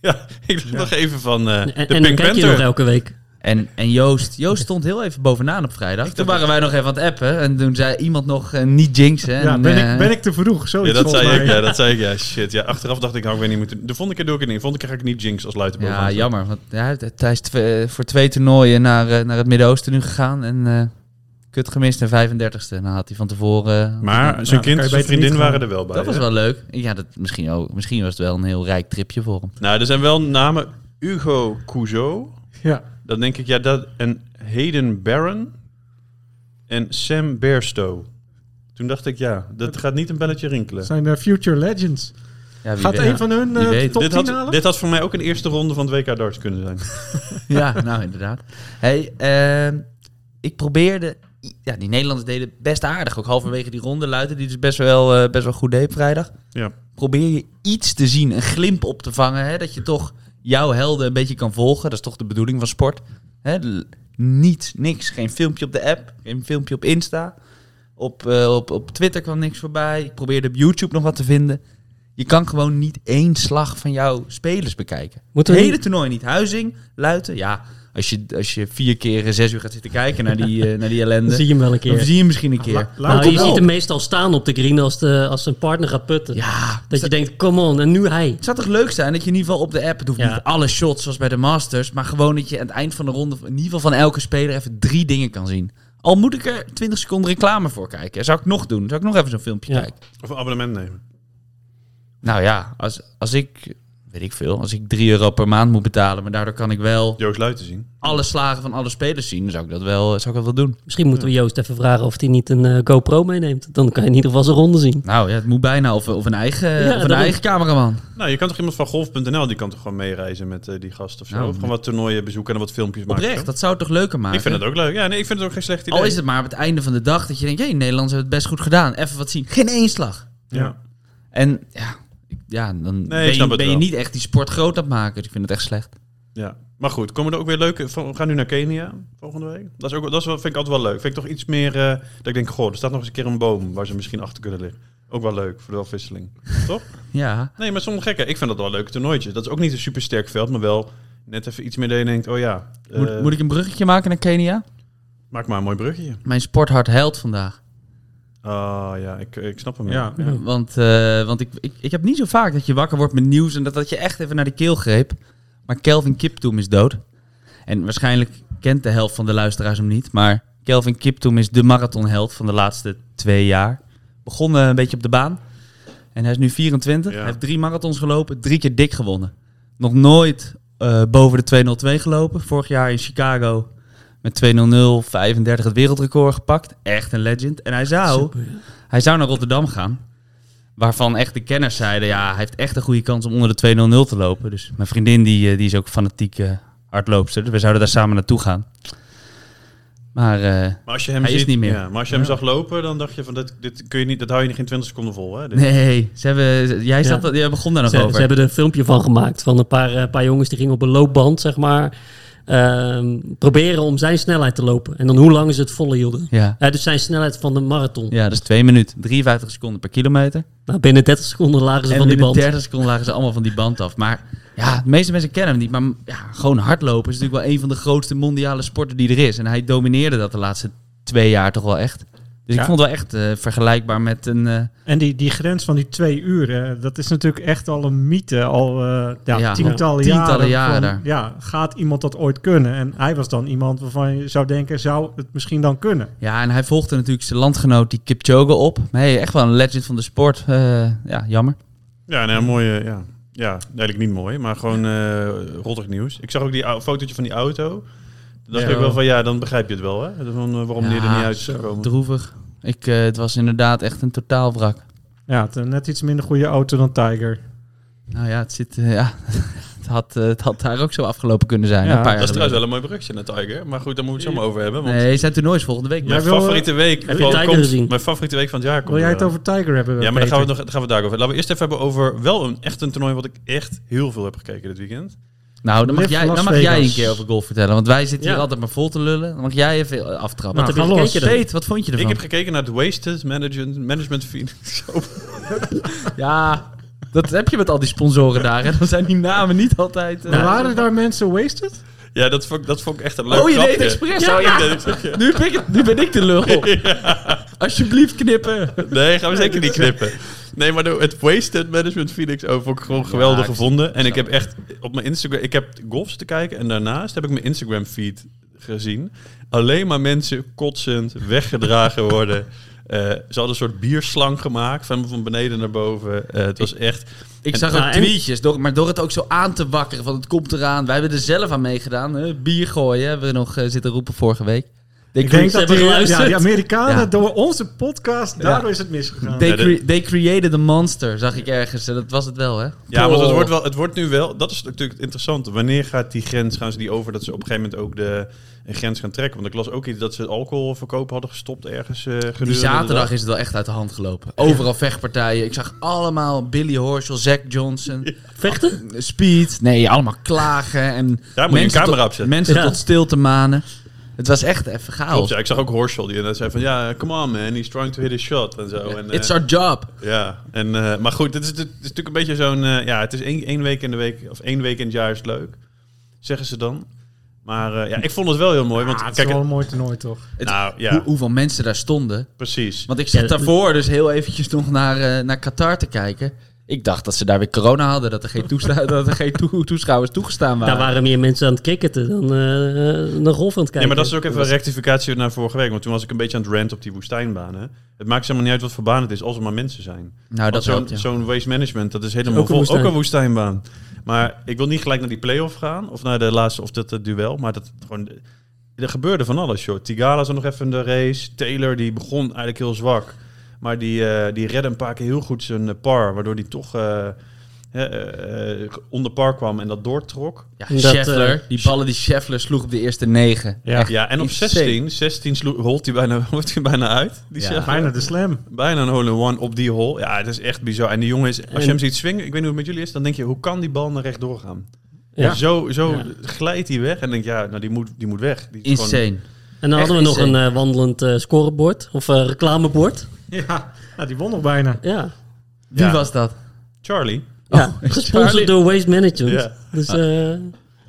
A: Ja, ik dacht nog even van eh,
C: En, en
A: de
C: dan
A: Pink
C: kijk je nog
A: Panther.
C: elke week.
D: En, en Joost, Joost stond heel even bovenaan op vrijdag. Toen waren wij nog even aan het appen en toen zei iemand nog eh, niet jinxen. En,
E: ja, ben,
D: eh,
E: ik, ben ik te vroeg? Zoiets
A: Ja, dat
E: volgens
A: zei ik.
E: mij.
A: Ja, dat zei ik. Ja, shit. Ja, achteraf dacht ik, nou, ik weet niet moeten. De volgende keer doe ik het niet. De volgende keer ga ik niet jinx als luid erboven
D: Ja,
A: aan staan.
D: jammer. Want ja, hij is twe- voor twee toernooien naar, eh, naar het Midden-Oosten nu gegaan. En eh, kut gemist en 35ste. Dan had hij van tevoren... eh,
A: Maar zijn
E: dan kan je
A: kind en zijn
E: beter
A: vriendin
E: niet
A: waren
E: gaan.
A: er wel bij.
D: dat was
A: hè?
D: wel leuk. Ja, dat, misschien, ook, misschien was het wel een heel rijk tripje voor hem.
A: Nou, er zijn wel namen Hugo Couzeau.
E: Ja,
A: Dan denk ik, ja, dat. En Hayden Barron. En Sam Bairstow. Toen dacht ik, ja, dat gaat niet een belletje rinkelen.
E: het zijn de future legends.
D: Ja, wie
E: Gaat
D: weet.
E: een van hun
D: Wie
E: eh,
D: weet.
E: top
A: Dit
E: 10
A: had,
E: halen?
A: dit had voor mij ook een eerste ronde van het WK darts kunnen zijn.
D: Ja, nou inderdaad. Hey, ehm, ik probeerde... Ja, die Nederlanders deden best aardig. Ook halverwege die ronde luiten die dus best wel, eh, best wel goed deed vrijdag.
A: Ja.
D: Probeer je iets te zien, een glimp op te vangen. Hè, dat je toch jouw helden een beetje kan volgen. Dat is toch de bedoeling van sport. Hè, l- niet, niks. Geen filmpje op de app, geen filmpje op Insta. Op, eh, op, op Twitter kwam niks voorbij. Ik probeerde op YouTube nog wat te vinden. Je kan gewoon niet één slag van jouw spelers bekijken.
C: Moeten we
D: het hele
C: niet-
D: toernooi niet. Huizing, Luiten, ja. Als je, als je vier keer eh, zes uur gaat zitten kijken naar die, eh, naar die ellende...
C: Dan zie je hem wel een
D: dan
C: keer.
D: zie je hem misschien een keer.
E: La-
C: Nou,
E: Luiten
C: je
E: wel.
C: ziet hem meestal staan op de green als, de, als zijn partner gaat putten.
D: Ja,
C: Dat je denkt, come on, en nu hij.
D: Het zou toch leuk zijn dat je in ieder geval op de app... Het hoeft
C: Ja.
D: niet alle shots zoals bij de Masters... maar gewoon dat je aan het eind van de ronde... in ieder geval van elke speler even drie dingen kan zien. Al moet ik er 20 seconden reclame voor kijken. Zou ik nog doen. Zou ik nog even zo'n filmpje
C: Ja.
D: kijken.
A: Of een abonnement nemen.
D: Nou ja, als, als ik... Weet ik veel. Als ik 3 euro per maand moet betalen... maar daardoor kan ik wel
A: Joost Luiten zien.
D: alle slagen van alle spelers zien... dan zou ik dat wel, zou ik dat wel doen.
C: Misschien moeten we Joost even vragen of hij niet een eh, GoPro meeneemt. Dan kan je in ieder geval zijn ronde zien.
D: Nou ja, het moet bijna. Of, of een eigen, of een
C: daarom.
D: eigen cameraman.
A: Nou, je kan toch iemand van golf.nl, die kan toch gewoon meereizen met eh, die gast of zo.
D: Nou,
A: of gewoon wat toernooien bezoeken en wat filmpjes maken.
D: Oprecht, dat zou het toch leuker maken?
A: Ik vind het ook leuk. Ja, nee, ik vind het ook geen slecht idee.
D: Al is het maar op het einde van de dag dat je denkt... hé, Nederlanders hebben het best goed gedaan. Even wat zien. Geen één slag.
A: Ja.
D: En ja, ik- ja dan
A: ik
D: ben, je,
A: snap het
D: ben je
A: wel.
D: niet echt die sport groot aan het maken. Dus ik vind het echt slecht.
A: ja. Maar goed, komen er ook weer leuke... We gaan nu naar Kenia volgende week. Dat, is ook, dat is wel, vind ik altijd wel leuk. Vind ik toch iets meer... eh, dat ik denk, goh, er staat nog eens een keer een boom waar ze misschien achter kunnen liggen. Ook wel leuk voor de afwisseling. toch?
D: Ja,
A: Nee, maar sommige gekken. Ik vind dat wel leuke toernooitjes. Dat is ook niet een supersterk veld, maar wel net even iets meer dat je denkt... Oh ja, eh,
D: moet, moet ik een bruggetje maken naar Kenia?
A: maak maar een mooi brugje.
D: Mijn sporthart huilt vandaag.
A: Ah ja, ik, ik snap hem. ja.
E: Ja, ja.
D: Want, eh, want ik, ik, ik heb niet zo vaak dat je wakker wordt met nieuws en dat, dat je echt even naar de keel greep. Maar Kelvin Kiptoum is dood. En waarschijnlijk kent de helft van de luisteraars hem niet. Maar Kelvin Kiptoum is de marathonheld van de laatste twee jaar. Begon eh, een beetje op de baan. En hij is nu 24.
A: Ja.
D: Hij heeft drie marathons gelopen, drie keer dik gewonnen. Nog nooit eh, boven de 202 gelopen. Vorig jaar in Chicago met 200 35 het wereldrecord gepakt. Echt een legend. En hij zou... Hij zou naar Rotterdam gaan. Waarvan echt de kenners zeiden, ja, hij heeft echt een goede kans om onder de 200 te lopen. Dus mijn vriendin die, eh, die is ook fanatiek eh, hardloopster. Dus we zouden daar samen naartoe gaan. Maar eh,
A: Maar als je hem
D: Hij is
A: ziet,
D: niet meer.
A: Ja, maar als je hem zag lopen, dan dacht je van dit, dit kun je niet, dat hou je niet geen 20 seconden vol. Hè? Dit-
D: nee, ze hebben, jij zat,
C: Ja.
D: jij begon daar nog
C: Ze,
D: over.
C: ze hebben er een filmpje van gemaakt van een paar, eh, paar jongens die gingen op een loopband, zeg maar, ehm, proberen om zijn snelheid te lopen. En dan hoe lang ze het volle hielden.
D: ja.
C: Eh, dus zijn snelheid van de marathon.
D: ja, dat is 2 minuten, 53 seconden per kilometer.
C: Nou, binnen 30 seconden lagen ze
D: En
C: van die
D: binnen
C: band.
D: 30 seconden lagen ze allemaal van die band af. Maar ja, de meeste mensen kennen hem niet. Maar ja, gewoon hardlopen is natuurlijk wel een van de grootste mondiale sporten die er is. En hij domineerde dat de laatste twee jaar toch wel echt. Dus
E: Ja.
D: ik vond het wel echt eh, vergelijkbaar met een... eh,
E: En die, die grens van die twee uur, hè, dat is natuurlijk echt al een mythe. Al eh, ja,
D: Ja,
E: tientallen,
D: tientallen
E: jaren. van,
D: jaren.
E: ja, gaat iemand dat ooit kunnen? En hij was dan iemand waarvan je zou denken, zou het misschien dan kunnen?
D: ja, en hij volgde natuurlijk zijn landgenoot die Kipchoge op. Maar hey, echt wel een legend van de sport. Eh, ja, jammer.
A: Ja, nou, mooie. Ja. ja, eigenlijk niet mooi, maar gewoon eh rottig nieuws. Ik zag ook die au- fotootje van die auto. Dan dacht
D: Ja.
A: ik wel van ja, dan begrijp je het wel, hè? Van, eh, waarom die er
D: Ja,
A: niet uit is
D: zo
A: gekomen.
D: Droevig. Ik, eh, het was inderdaad echt een totaalwrak.
E: Ja, het, eh, net iets minder goede auto dan Tiger.
D: Nou ja, het, zit, eh, ja, het, had, eh, het had daar ook zo afgelopen kunnen zijn.
E: Ja.
D: een paar
A: Dat
D: jaar
A: is trouwens
D: geleden.
A: wel een mooi brugje naar Tiger. Maar goed, daar moeten we het zo maar over hebben. Want
D: Nee, zijn toernooi is volgende week.
A: mijn,
E: Jij wil,
A: favoriete week
C: Heb je
A: van-
C: Tiger
A: komt-
C: gezien?
A: mijn favoriete week van het jaar komt.
E: Wil jij het
A: eraan.
E: over Tiger hebben?
A: Ja, maar dan gaan, we
E: Peter?
A: nog, dan gaan we het daarover. Laten we eerst even hebben over wel een echt een toernooi wat ik echt heel veel heb gekeken dit weekend.
D: Nou, dan mag,
E: Live
D: jij,
E: Las
D: dan mag jij een
E: Vegas.
D: keer over golf vertellen. Want wij zitten hier
C: Ja.
D: altijd maar vol te lullen. Dan mag jij even eh, aftrappen.
E: Nou,
D: Wat
E: ga
D: heb je
E: los.
D: gekeken dan? Peet, wat vond
A: Ik
D: je ervan?
A: heb gekeken naar het Wasted Management, management Phoenix Open.
D: Ja, dat heb je met al die sponsoren daar. En dan zijn die namen niet altijd... eh,
E: Maar waren daar mensen wasted?
A: Ja, dat vond, ik- dat vond ik echt een leuk
D: oh, je
A: grapje.
D: deed het expres.
A: Ja,
D: oh, ja.
A: ik deed het expres, ja.
D: Nu, ben ik het- nu ben ik de lul. Alsjeblieft knippen.
A: Nee, gaan we zeker niet knippen. Nee, maar de- het Wasted Management Phoenix Open vond ik gewoon geweldig
D: ik
A: gevonden. En ik heb echt op mijn Instagram... Ik heb golfs te kijken en daarnaast heb ik mijn Instagram feed gezien. Alleen maar mensen kotsend weggedragen worden. Eh, ze hadden een soort bierslang gemaakt, van, van beneden naar boven. Eh, het was echt...
D: Ik
A: En-
D: zag
C: nou,
D: ook
C: en-
D: tweetjes, door, maar door het ook zo aan te wakkeren van het komt eraan. Wij hebben er zelf aan meegedaan. hè, bier gooien hebben we nog eh, zitten roepen vorige week. They,
E: Ik
D: cre-
E: denk
C: ze
E: dat
C: hebben
E: die,
C: geluisterd.
E: ja, die Amerikanen
D: Ja.
E: door onze podcast, daardoor is het misgegaan.
D: they,
A: Ja, de-
D: cre- they created a monster, zag ik ergens. En dat was het wel, hè?
A: Ja, want het
D: Oh.
A: wordt, wel, het wordt nu wel... Dat is natuurlijk het interessante. Wanneer gaat die grens, gaan ze die over... dat ze op een gegeven moment ook de een grens gaan trekken? Want ik las ook iets dat ze alcoholverkoop hadden gestopt ergens eh gedurende
D: Die
A: de
D: zaterdag
A: dag.
D: is het wel echt uit de hand gelopen. Overal vechtpartijen. Ik zag allemaal Billy Horschel, Zack Johnson,
C: Vechten?
D: Speed. Nee, allemaal klagen.
A: Daar
D: En
A: moet je een
D: mensen
A: camera
D: tot-
A: op zetten.
D: Mensen
C: Ja.
D: tot stilte manen. Het was echt even
A: Klopt,
D: chaos.
A: ja, ik zag ook Horschel die inderdaad zei van... Ja, come on man, he's trying to hit his shot en zo. En, eh,
D: It's our job.
A: Ja, en, eh, maar goed, het is, het is natuurlijk een beetje zo'n... eh, ja, het is één, één week in de week, of één week in het jaar is het leuk, zeggen ze dan. Maar eh, ja, ik vond het wel heel mooi, want
E: Ah, het is
A: kijk...
E: wel een mooi toernooi, toch?
A: het- nou, ja,
D: Hoe- hoeveel mensen daar stonden.
A: precies.
D: Want ik zat
C: Ja, dat-
D: daarvoor dus heel eventjes nog naar, eh, naar Qatar te kijken. Ik dacht dat ze daar weer corona hadden, dat er geen, toesta- dat er geen toe- toeschouwers toegestaan waren.
C: Daar waren meer mensen aan het cricketen dan eh eh, naar golf aan het kijken.
A: Nee, maar dat is ook even een rectificatie naar vorige week. Want toen was ik een beetje aan het rant op die woestijnbanen. Het maakt helemaal niet uit wat voor baan het is, als er maar mensen zijn.
D: Nou, dat
A: Want zo'n
D: helpt, ja.
A: zo'n waste management, dat is helemaal
C: Ook een
A: vol-
C: woestijn.
A: ook een woestijnbaan. Maar ik wil niet gelijk naar die play-off gaan, of naar de laatste, of dat eh, duel. Maar dat gewoon, eh, er gebeurde van alles, joh. Tigala zat nog even in de race. Taylor, die begon eigenlijk heel zwak. Maar die, eh, die redde een paar keer heel goed zijn eh, par, waardoor die toch... eh, hè, eh, eh, onder par kwam en dat doortrok.
D: Ja,
C: Dat,
D: Scheffler,
C: eh,
D: die ballen die Scheffler sloeg op de eerste negen.
E: Ja.
D: Echt
A: Ja, en op
D: insane.
A: 16, 16 slo- rolt hij bijna, wordt hij bijna uit. Die
D: Ja.
A: zegt,
E: Bijna de slam.
A: Bijna een hole-in-one op die hole. Ja, het is echt bizar. En die jongen is, als
C: En-
A: je hem ziet swingen, ik weet niet hoe het met jullie is, dan denk je, hoe kan die bal naar rechtdoor gaan?
C: Ja.
A: Zo, zo
C: Ja.
A: glijdt hij weg en denk je, ja, nou die moet, die moet weg. Die is
D: Insane.
C: En dan
D: Echt
C: hadden we nog een
D: insane.
C: eh, wandelend eh, scorebord of eh, reclamebord.
E: Ja, nou, die won nog bijna.
C: Ja.
A: Oh,
D: Wie
A: Ja.
D: was dat?
A: Charlie.
C: ja.
D: is
C: Gesponsord
D: Charlie-
C: door Waste Management.
A: Ja. Ah.
C: Dus eh,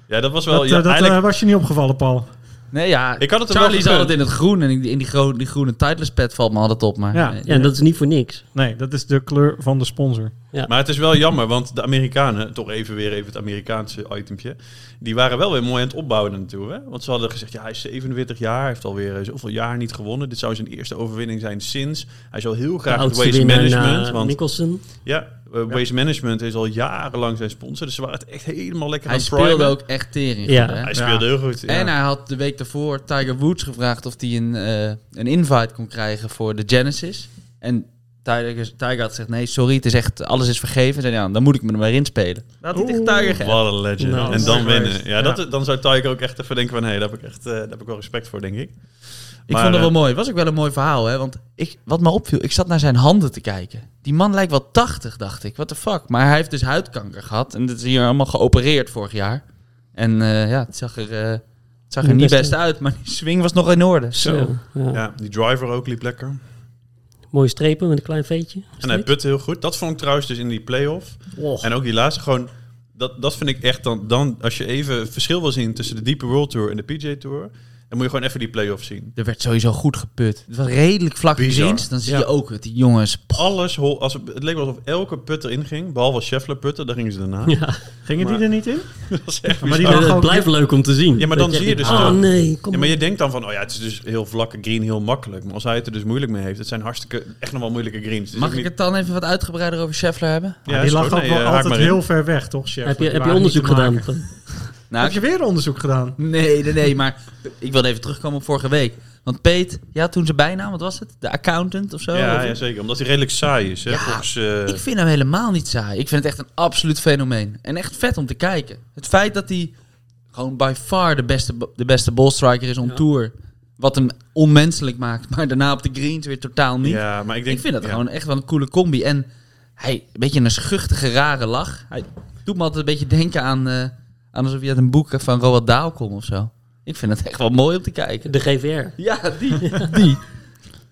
A: Ja, dat was wel...
E: Dat, eh,
A: ja,
E: dat eh,
A: eigenlijk,
E: was je niet opgevallen, Paul.
D: Nee, ja.
A: Ik had het er wel
D: Charlie zat
A: gegund.
D: het in het groen en in die, in die, gro- die groene Titleist pad valt me altijd op. Maar
E: Ja.
D: eh,
C: ja, en dat is niet voor niks.
E: Nee, dat is de kleur van de sponsor.
A: maar het is wel jammer, want de Amerikanen, toch even weer even het Amerikaanse itempje, die waren wel weer mooi aan het opbouwen naartoe. Hè? Want ze hadden gezegd, ja, hij is 47 jaar, heeft alweer eh, zoveel jaar niet gewonnen. Dit zou zijn eerste overwinning zijn sinds. Hij zou heel
C: De
A: graag het
C: oudste
A: waste
C: winnaar eh,
A: management...
D: eh,
C: na
A: want
C: Mickelson.
A: Ja, eh, Waste Management is al jarenlang zijn sponsor. Dus ze waren het echt helemaal lekker
D: hij
A: aan het
D: speelde
A: primen.
D: ook echt tering.
C: Ja.
D: goed, hè?
A: Hij speelde heel goed. ja.
D: En hij had de week daarvoor Tiger Woods gevraagd of hij een, eh, een invite kon krijgen voor de Genesis. En Tiger, Tiger had gezegd, nee, sorry, het is echt, alles is vergeven. Zei, hij, ja, dan moet ik me er maar inspelen. Dat had hij tegen Tiger gegeven.
A: Wat een legend.
C: Nou,
A: en
E: dat
A: dan
E: is
A: winnen.
E: geweest.
A: Ja, Dat, dan zou Tiger ook echt even denken van... hé, hey, daar, heb ik echt, eh, daar heb ik wel respect voor, denk ik.
D: Ik
A: Maar,
D: vond het wel
A: eh,
D: mooi. Het was ook wel een mooi verhaal, hè. Want ik, wat me opviel, ik zat naar zijn handen te kijken. Die man lijkt wel 80, dacht ik. What the fuck? Maar hij heeft dus huidkanker gehad. En dat is hier allemaal geopereerd vorig jaar. En eh, ja, het zag er, eh, het zag er
C: Niet
D: niet
C: best
D: best uit. Maar die swing was nog in orde.
A: Zo.
C: Ja.
A: Ja, die driver ook liep lekker.
C: Mooie strepen met een klein veetje.
A: En hij putte heel goed. Dat vond ik trouwens dus in die play-off.
D: Oh.
C: Och.
A: En ook die laatste gewoon... Dat, dat vind ik echt dan, dan... Als je even het verschil wil zien tussen de diepe World Tour en de PJ Tour... dan moet je gewoon even die play-off zien.
D: Er werd sowieso goed geput. Het was redelijk vlak
A: Bizar.
D: greens. Dan zie
A: Ja.
D: je ook dat die jongens... pff,
A: Alles... hol- Als, het leek wel alsof elke put erin ging. Behalve Scheffler putten, daar gingen ze daarna.
C: Ja,
E: Gingen
A: Maar-
E: die er niet in?
A: Dat is echt
E: Maar die
A: bizar.
E: lag
C: het
E: ook-
C: blijft leuk om te zien.
A: Ja, maar
C: Dat
A: dan zie je
C: denkt,
A: dus
C: Oh
A: ook-
C: nee, kom
A: Ja, maar
C: maar.
A: je denkt dan van, oh ja, het is dus heel vlakke green, heel makkelijk. Maar als hij het er dus moeilijk mee heeft, het zijn hartstikke, echt nog wel moeilijke greens. Dus
D: Mag ik het dan even wat uitgebreider over Scheffler hebben?
A: Ja,
E: Maar
A: is
E: die lag
A: goed.
E: ook
A: Nee,
E: wel
A: eh, haak
E: altijd
A: maar in.
E: heel ver weg, toch, chef?
C: heb je,
E: Die
C: heb je
E: waren niet te
C: onderzoek gedaan?
E: maken.
D: Nou,
E: Heb je weer onderzoek gedaan?
D: Nee, nee, nee, maar ik wilde even terugkomen op vorige week. Want Peet, ja, toen zijn bijnaam, wat was het? De accountant of zo?
A: Ja,
D: Of-
A: ja, zeker. Omdat hij redelijk saai is. Hè,
D: Ja,
A: volgens, eh,
D: Ik vind hem helemaal niet saai. Ik vind het echt een absoluut fenomeen. En echt vet om te kijken. Het feit dat hij gewoon by far de beste, de beste ballstriker is on
C: Ja.
D: tour. Wat hem onmenselijk maakt. Maar daarna op de greens weer totaal niet.
A: ja, maar ik denk...
D: Ik vind dat
A: ja.
D: gewoon echt wel een coole combi. En hij, een beetje een schuchtige, rare lach. Hij doet me altijd een beetje denken aan, eh, aan alsof je uit een boek van Roald Dahl komt of zo. Ik vind het echt wel mooi om te kijken.
C: De GVR.
D: Ja, die. die.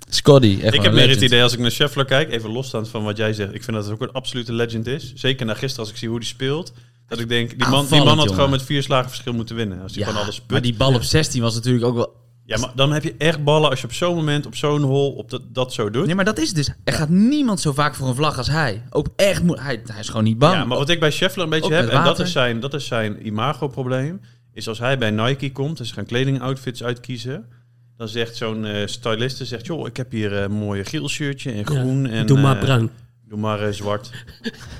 D: Scotty, echt
A: Ik
D: wel
A: heb
D: een
A: meer het
D: legend.
A: idee als ik naar Scheffler kijk, even losstaand van wat jij zegt. Ik vind dat het ook een absolute legend is. Zeker na gisteren als ik zie hoe die speelt. Dat ik denk, die man, die man
D: Aanvallend,
A: had gewoon
D: jongen.
A: met vier slagen verschil moeten winnen. Als hij
D: Ja,
A: gewoon alles put.
D: maar die bal op 16 was natuurlijk ook wel...
A: Ja, maar dan heb je echt ballen als je op zo'n moment, op zo'n hol, op dat, dat zo doet.
D: Nee, maar dat is het dus. Er gaat niemand zo vaak voor een vlag als hij. Ook echt moe... Hij, hij is gewoon niet bang.
A: Ja, maar wat ik bij Scheffler een beetje
D: Ook
A: heb,
D: met
A: en dat
D: water.
A: is zijn, dat is zijn imago-probleem, is als hij bij Nike komt en ze gaan kledingoutfits uitkiezen, Dan zegt zo'n eh, styliste, zegt, joh, ik heb hier eh, een mooi geel shirtje en
C: Ja,
A: groen. En,
C: Doe maar
A: eh,
C: bruin.
A: Doe maar eh, zwart.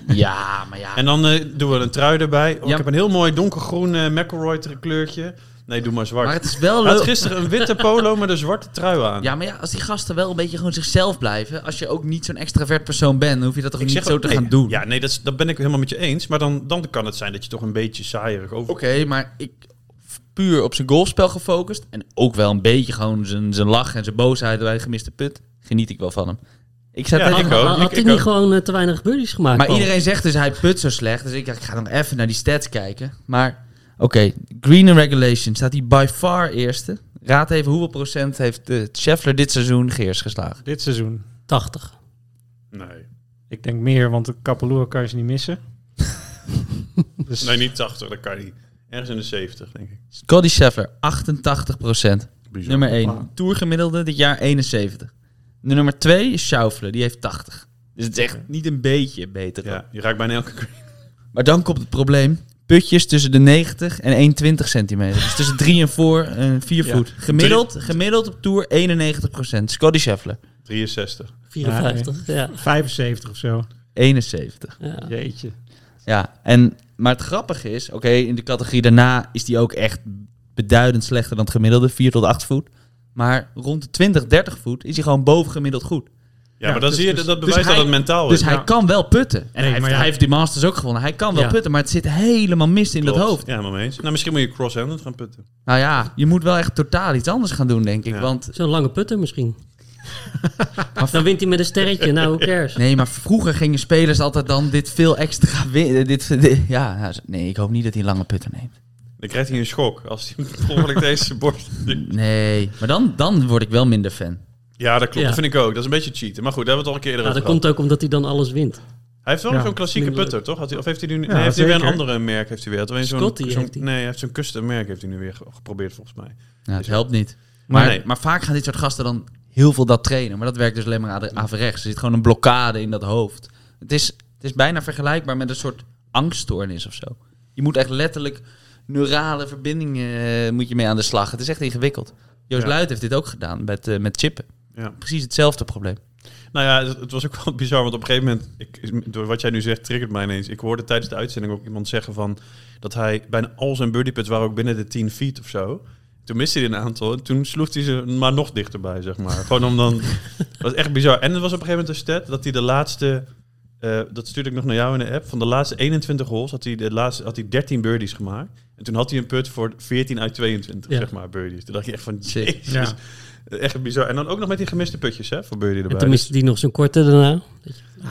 D: Ja, maar ja.
A: En dan eh, doen we een trui erbij. Oh,
D: Ja.
A: Ik heb een heel mooi donkergroen eh McElroy kleurtje. Nee, doe maar zwart.
D: Maar het is wel
A: Hij had
D: leuk.
A: gisteren een witte polo met een zwarte trui aan.
D: Ja, maar ja, als die gasten wel een beetje gewoon zichzelf blijven. Als je ook niet zo'n extravert persoon bent, dan hoef je dat toch niet zo
A: ook,
D: te
A: nee,
D: gaan doen.
A: Ja, nee, dat, is- dat ben ik helemaal met je eens. Maar dan, dan kan het zijn dat je toch een beetje saaierig over...
D: Oké, maar ik puur op zijn golfspel gefocust. En ook wel een beetje gewoon zijn, zijn lach en zijn boosheid bij gemiste put. Geniet ik wel van hem. Ik zat
A: Ja,
D: net
A: ik
D: in-
A: ook.
C: Maar had hij
A: ik
C: niet
A: ook.
C: gewoon eh, te weinig buddies gemaakt?
A: Oh.
D: Maar
C: Paul?
D: iedereen zegt dus hij put zo slecht. Dus ik dacht, ik ga nog even naar die stats kijken. Maar oké, Green and Regulation staat hij by far eerste. Raad even hoeveel procent heeft eh, Scheffler dit seizoen Geers geslagen?
E: Dit seizoen.
C: 80.
A: Nee.
E: Ik denk meer, want de Kapeloer kan je ze niet missen. dus
A: nee, niet 80, dat kan niet. Ergens in de 70, denk ik.
D: Scotty Scheffler, 88 procent.
A: Bizar.
D: Nummer 1.
E: Wauw.
D: Tourgemiddelde dit jaar 71. De nummer 2 is Schaufele, die heeft 80. Dus het is echt niet een beetje beter. dan.
A: Ja, je raakt bijna elke green.
D: Maar dan komt het probleem. Putjes tussen de 90 en 120 centimeter. Dus tussen 3 en 4 en 4
A: Ja.
D: voet. Gemiddeld, gemiddeld op tour 91 Scotty Scheffler
A: 63.
C: 54. Ja.
E: 75 of zo.
D: 71.
C: ja.
E: Jeetje.
D: Ja, en, maar het grappige is... Oké, in de categorie daarna is die ook echt beduidend slechter dan het gemiddelde. 4 tot 8 voet. Maar rond de 20, 30 voet is hij gewoon bovengemiddeld goed.
A: Ja, maar dan
E: dus-
A: zie je
E: dus-
A: dat, dat
D: dus
A: bewijst
D: hij-
A: dat het mentaal
D: Dus
A: is.
D: hij kan wel putten. En hij,
E: maar
D: heeft,
E: ja.
D: hij heeft die Masters ook gewonnen. Hij kan wel
C: Ja.
D: putten, maar het zit helemaal mis in
A: Klopt.
D: dat hoofd.
A: Ja, helemaal mee eens. Nou, misschien moet je cross-handed gaan putten.
D: Nou ja, je moet wel echt totaal iets anders gaan doen, denk ik.
A: Ja.
D: Want
C: Zo'n lange putter misschien. dan wint hij met een sterretje. Nou, who cares?
D: nee, maar vroeger gingen spelers altijd dan dit veel extra winnen. Dit, dit- ja, nou, nee, ik hoop niet dat hij lange putten neemt.
A: Dan krijgt hij een schok als hij volgelijk deze borst...
D: Nee, maar dan, dan word ik wel minder fan.
A: Ja, dat klopt.
C: Ja.
A: Dat vind ik ook. Dat is een beetje cheaten. Maar goed, daar hebben we het al een keer
C: Ja,
A: over
C: dat
A: gehad.
C: komt ook omdat hij dan alles wint.
A: Hij heeft wel
E: Ja,
A: zo'n klassieke
C: minder leuk.
A: putter, toch? Had hij, of heeft hij nu...
E: Ja,
A: nee, heeft hij weer een
E: zeker.
A: andere merk? Heeft hij weer? Had hij zo'n,
C: Scotty
A: zo'n-
C: heeft hij.
A: Nee, hij heeft zo'n custom merk heeft hij nu weer ge- geprobeerd, volgens mij.
D: Nou, het helpt niet.
A: Maar
D: Maar,
A: nee.
D: maar vaak gaan dit soort gasten dan heel veel dat trainen. Maar dat werkt dus alleen maar aan- averechts. Er zit gewoon een blokkade in dat hoofd. Het is, het is bijna vergelijkbaar met een soort angststoornis of zo. Je moet echt letterlijk neurale verbindingen eh, moet je mee aan de slag. Het is echt ingewikkeld. Joost
A: Ja.
D: Luit heeft dit ook gedaan met, eh, met chippen.
A: Ja.
D: Precies hetzelfde probleem.
A: Nou ja, het, het was ook wel bizar, want op een gegeven moment... Ik, door wat jij nu zegt, triggert mij ineens. Ik hoorde tijdens de uitzending ook iemand zeggen van... dat hij bijna al zijn birdie pits waren ook binnen de 10 feet of zo. Toen miste hij een aantal. en Toen sloeg hij ze maar nog dichterbij, zeg maar. Gewoon om dan... Dat was echt bizar. En er was op een gegeven moment een stat dat hij de laatste... eh, dat stuurde ik nog naar jou in de app. Van de laatste 21 holes had hij, de laatste, had hij 13 birdies gemaakt. En toen had hij een put voor 14 uit 22,
C: Ja.
A: zeg maar, birdies. Toen dacht je echt van,
D: Sick.
A: jezus.
E: Ja. Ah,
A: Echt bizar. En dan ook nog met die gemiste putjes, hè, voor birdie erbij.
C: En toen miste hij nog zo'n korte daarna.
E: Ja,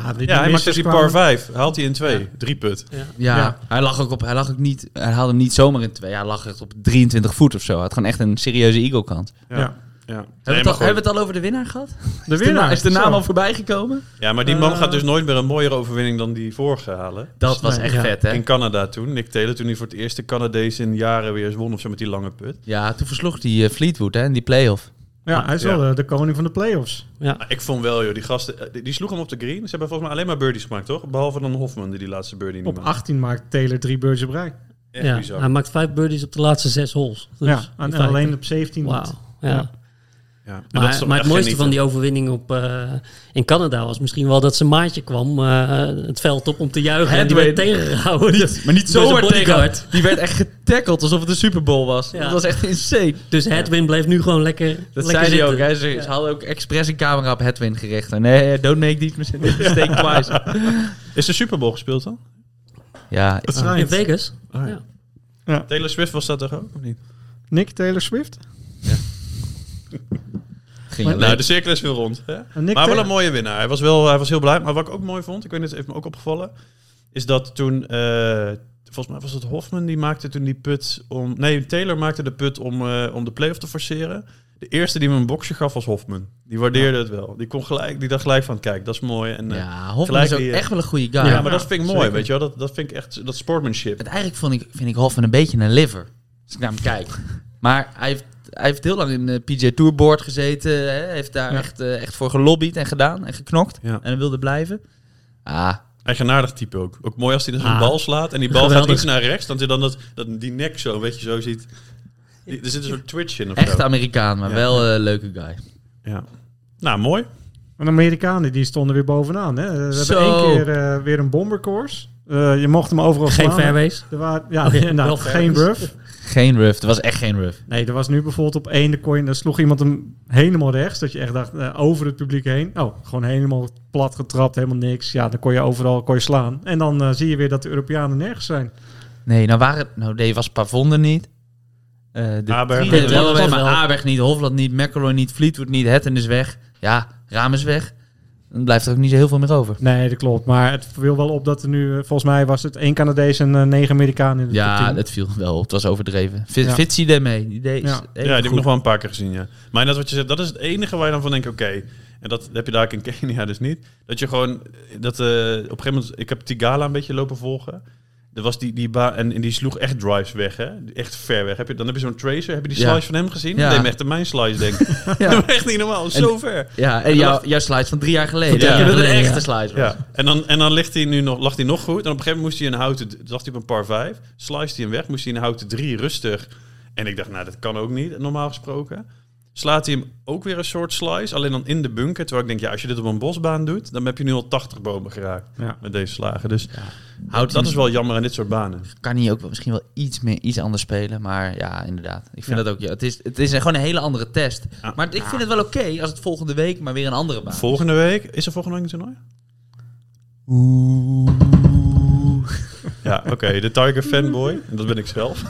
E: die- die
A: Ja, hij maakt
E: missers
A: dus die
E: kwamen-
A: par 5. Haalt hij in 2. Drie put.
D: Ja,
E: Ja.
D: Hij, lag ook op, hij lag ook niet... Hij haalde hem niet zomaar in twee. Hij lag echt op 23 voet of zo. Hij had gewoon echt een serieuze eagle-kant.
A: Ja.
E: Ja.
A: Ja.
D: Hebben
A: Nee,
D: we
A: maar
D: het al- hebben
A: goed.
D: we het al over de winnaar gehad?
E: De
D: Is de na-
E: winnaar.
D: Is de naam
E: Zo.
D: al voorbij gekomen?
A: ja, maar die man
E: Eh.
A: gaat dus nooit meer een mooiere overwinning dan die vorige halen.
D: Dat was
E: Nee,
D: echt
E: ja.
D: vet, hè?
A: In Canada toen. Nick Taylor toen hij voor het eerst de Canadees in jaren weer eens won of zo met die lange put.
D: Ja, toen versloeg die eh, Fleetwood hè, in die play-off.
E: Ja, hij is
A: Ja.
E: wel eh, de, de koning van de playoffs.
A: Maar ik vond wel, joh, die gasten, eh, die, die sloegen hem op de green. Ze hebben volgens mij alleen maar birdies gemaakt, toch? Behalve dan Hofman die die laatste birdie niet
E: Op
A: maakte.
E: 18 maakt Taylor drie birds op rij.
A: Echt
C: ja,
A: bizar.
C: hij maakt vijf birdies op de laatste zes holes. Dus
E: ja, en,
C: in
E: en
C: feite-
E: alleen op 17.
C: Wauw.
E: niet.
C: Ja.
E: Ja.
A: Ja. En dat is
C: Maar,
A: toch
C: maar het
A: echt genieten.
C: mooiste van die overwinning op, eh, in Canada was misschien wel dat zijn maatje kwam eh, het veld op om te juichen. En die
D: Hedwig.
C: werd tegengehouden.
D: Maar niet
C: Door
D: zo
C: zijn
D: hard
C: bodyguard.
D: tegen. Die werd echt getackeld alsof het een Super Bowl was.
C: Ja.
D: Dat was echt insane.
C: Dus Hedwin bleef nu gewoon lekker.
D: Dat
C: lekker
D: zei hij
C: zitten.
D: ook. Hè. Ze, ze hadden ook expres een camera op Hedwin gericht. En, Nee, don't make these mistakes Mistake twice.
A: Is de Super Bowl gespeeld dan?
D: Ja,
C: In Vegas.
A: Ah, ja.
C: Ja.
A: Taylor Swift was dat toch ook? Of niet?
E: Nick Taylor Swift.
D: ging
A: Nou,
D: je leuk.
A: de cirkel is weer rond. Hè?
E: En Nick
A: maar wel
E: Taylor-
A: een mooie winnaar. Hij was, wel, hij was heel blij. Maar wat ik ook mooi vond, ik weet niet, het heeft me ook opgevallen, is dat toen, eh, volgens mij was het Hofman die maakte toen die put om, nee, Taylor maakte de put om, eh, om de playoff te forceren. De eerste die me een boxje gaf was Hofman. Die waardeerde het wel. Die, kon gelijk, die dacht gelijk van, kijk, dat is mooi. En, eh, ja.
D: Ja, Hofman
A: Gelijk
D: is ook
A: die, eh,
D: echt wel een goede guy.
A: maar
E: ja,
A: dat vind ik mooi,
E: zeker.
A: weet je wel. Dat, dat vind ik echt, dat sportmanship.
D: Want eigenlijk vond ik, vind ik Hoffman een beetje een liver. Als ik naar hem kijk. Maar hij heeft, hij heeft heel lang in eh, de PJ Tour Board gezeten. Hè? Hij heeft daar
E: Ja.
D: echt, eh, echt voor gelobbyd en gedaan en geknokt.
A: Ja.
D: En hij wilde blijven. Ah,
A: Eigenaardig type ook. Ook mooi als hij dan zo'n
C: Ah,
A: bal slaat en die bal gaat
C: geweldig.
A: iets naar rechts. Dan je dan dat, dat, die nek zo, weet je, zo ziet. Die- Er zit een soort Twitch in of
D: Echt
A: zo.
D: Amerikaan, maar
A: Ja.
D: wel een leuke guy.
A: Ja. Nou, mooi.
E: Maar de Amerikanen die stonden weer bovenaan. Hè. We
D: Zo.
E: hebben één keer eh, weer een bombercourse. Eh, je mocht hem overal
C: Geen
E: slaan.
C: fairways.
E: Er waren, ja,
C: Oh ja, wel
E: inderdaad, geen
C: fairways.
E: rough.
D: Geen rough, dat was echt geen rough.
E: Nee, er was nu bijvoorbeeld op één, de coin, daar sloeg iemand hem helemaal rechts. Dat je echt dacht, eh, over het publiek heen. Oh, gewoon helemaal plat getrapt, helemaal niks. Ja, dan kon je overal kon je slaan. En dan eh, zie je weer dat de Europeanen nergens zijn.
D: Nee, nou waren, nou nee, was Pavon er niet. Eh de
A: Aberg.
D: drie-
C: Dit
D: wel,
C: was
D: wel,
C: wel.
D: maar Aberg niet, Hofland niet, McElroy niet, Fleetwood niet, Hetten is weg. Ja, Raam is weg. Dan blijft er ook niet zo heel veel meer over.
E: Nee, dat klopt. Maar het viel wel op dat er nu, eh, volgens mij was het één Canadees en eh, negen Amerikanen in de top
D: Ja,
E: 10.
D: dat viel wel op. Het was overdreven. Fit,
E: Ja.
D: Fitzy daarmee. Die deed
E: Ja.
A: Ja, die heb ik nog wel een paar keer gezien, ja. Maar dat wat je zegt, dat is het enige waar je dan van denkt, oké. En dat heb je daar in Kenia dus niet. Dat je gewoon, dat eh, op een gegeven moment, ik heb Tigala een beetje lopen volgen. Er was die, die baan, en, en die sloeg echt drives weg, hè. Echt ver weg. Heb je, dan heb je zo'n tracer, heb je die
D: Ja.
A: slice van hem gezien?
D: Ja.
A: Dat deed me echt aan mijn slice denken.
D: Ja.
A: echt niet normaal, zo ver.
D: Ja, en jouw, jouw slides van drie jaar geleden.
A: Van drie
D: Ja,
A: jaar
D: dat een eh,
C: geleden,
D: echte
C: ja.
D: slide was.
A: Ja. En dan, en dan ligt hij nu nog, lag hij nog goed. En op een gegeven moment moest hij een houten... toen lag hij op een par 5. Slice hij hem weg. Moest hij een houten 3 rustig. En ik dacht, nou, dat kan ook niet, normaal gesproken. Slaat hij hem ook weer een soort slice. Alleen dan in de bunker. Terwijl ik denk, ja, als je dit op een bosbaan doet... dan heb je nu al 80 bomen geraakt
E: Ja.
A: met deze slagen. Dus
D: Houdt
A: dat is wel jammer aan dit soort banen.
D: kan hij ook wel- misschien wel iets meer, iets anders spelen. Maar ja, inderdaad. Ik vind
E: Ja.
D: dat ook. Ja, het, is, het is gewoon een hele andere test.
A: Ja.
D: Maar ik vind het wel oké als het volgende week maar weer een andere baan.
A: Volgende week... Is er volgende week een toernooi?
D: Oeh.
A: Ja, oké. de Tiger fanboy. En dat ben ik zelf.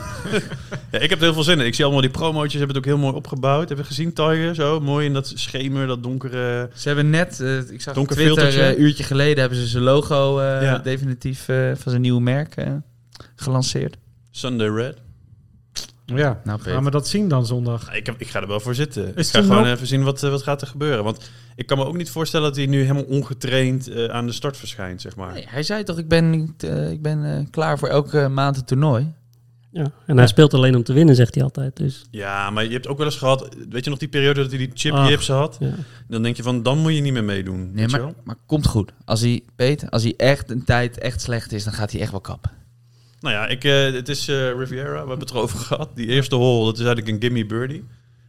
A: ja, ik heb er heel veel zin in. Ik zie allemaal die promotjes. Hebben het ook heel mooi opgebouwd. Heb je gezien, Tiger? Zo mooi in dat schemer, dat donkere...
D: Ze hebben net, eh, ik
A: Donker
D: zag Donker Twitter,
A: filtertje.
D: eh, een uurtje geleden hebben ze zijn logo eh,
A: Ja.
D: definitief eh, van zijn nieuwe merk eh, gelanceerd.
A: Sunday Red. Nou,
E: Ja,
D: Nou,
E: gaan we dat zien dan zondag?
A: Ik, heb, ik ga er wel voor zitten.
E: het
A: ik ga
E: een
A: gewoon
E: no-
A: even zien wat, eh, wat gaat er gebeuren. Want ik kan me ook niet voorstellen dat hij nu helemaal ongetraind eh, aan de start verschijnt, zeg maar.
D: Nee, hij zei toch, ik ben, niet, eh, ik ben eh, klaar voor elke maand een toernooi.
C: Ja. En hij speelt alleen om te winnen, zegt hij altijd. Dus,
A: Ja, maar je hebt ook wel eens gehad, weet je nog die periode dat hij die chip
E: Ach.
A: jips had?
C: ja.
A: Dan denk je van, dan moet je niet meer meedoen.
D: Nee,
A: weet je
D: maar,
A: wel?
D: maar komt goed. Als hij, Peter, als hij echt een tijd echt slecht is, dan gaat hij echt wel kappen.
A: Nou ja, ik, eh, het is eh, Riviera, we hebben het erover gehad. Die eerste hole, dat is eigenlijk een gimme birdie.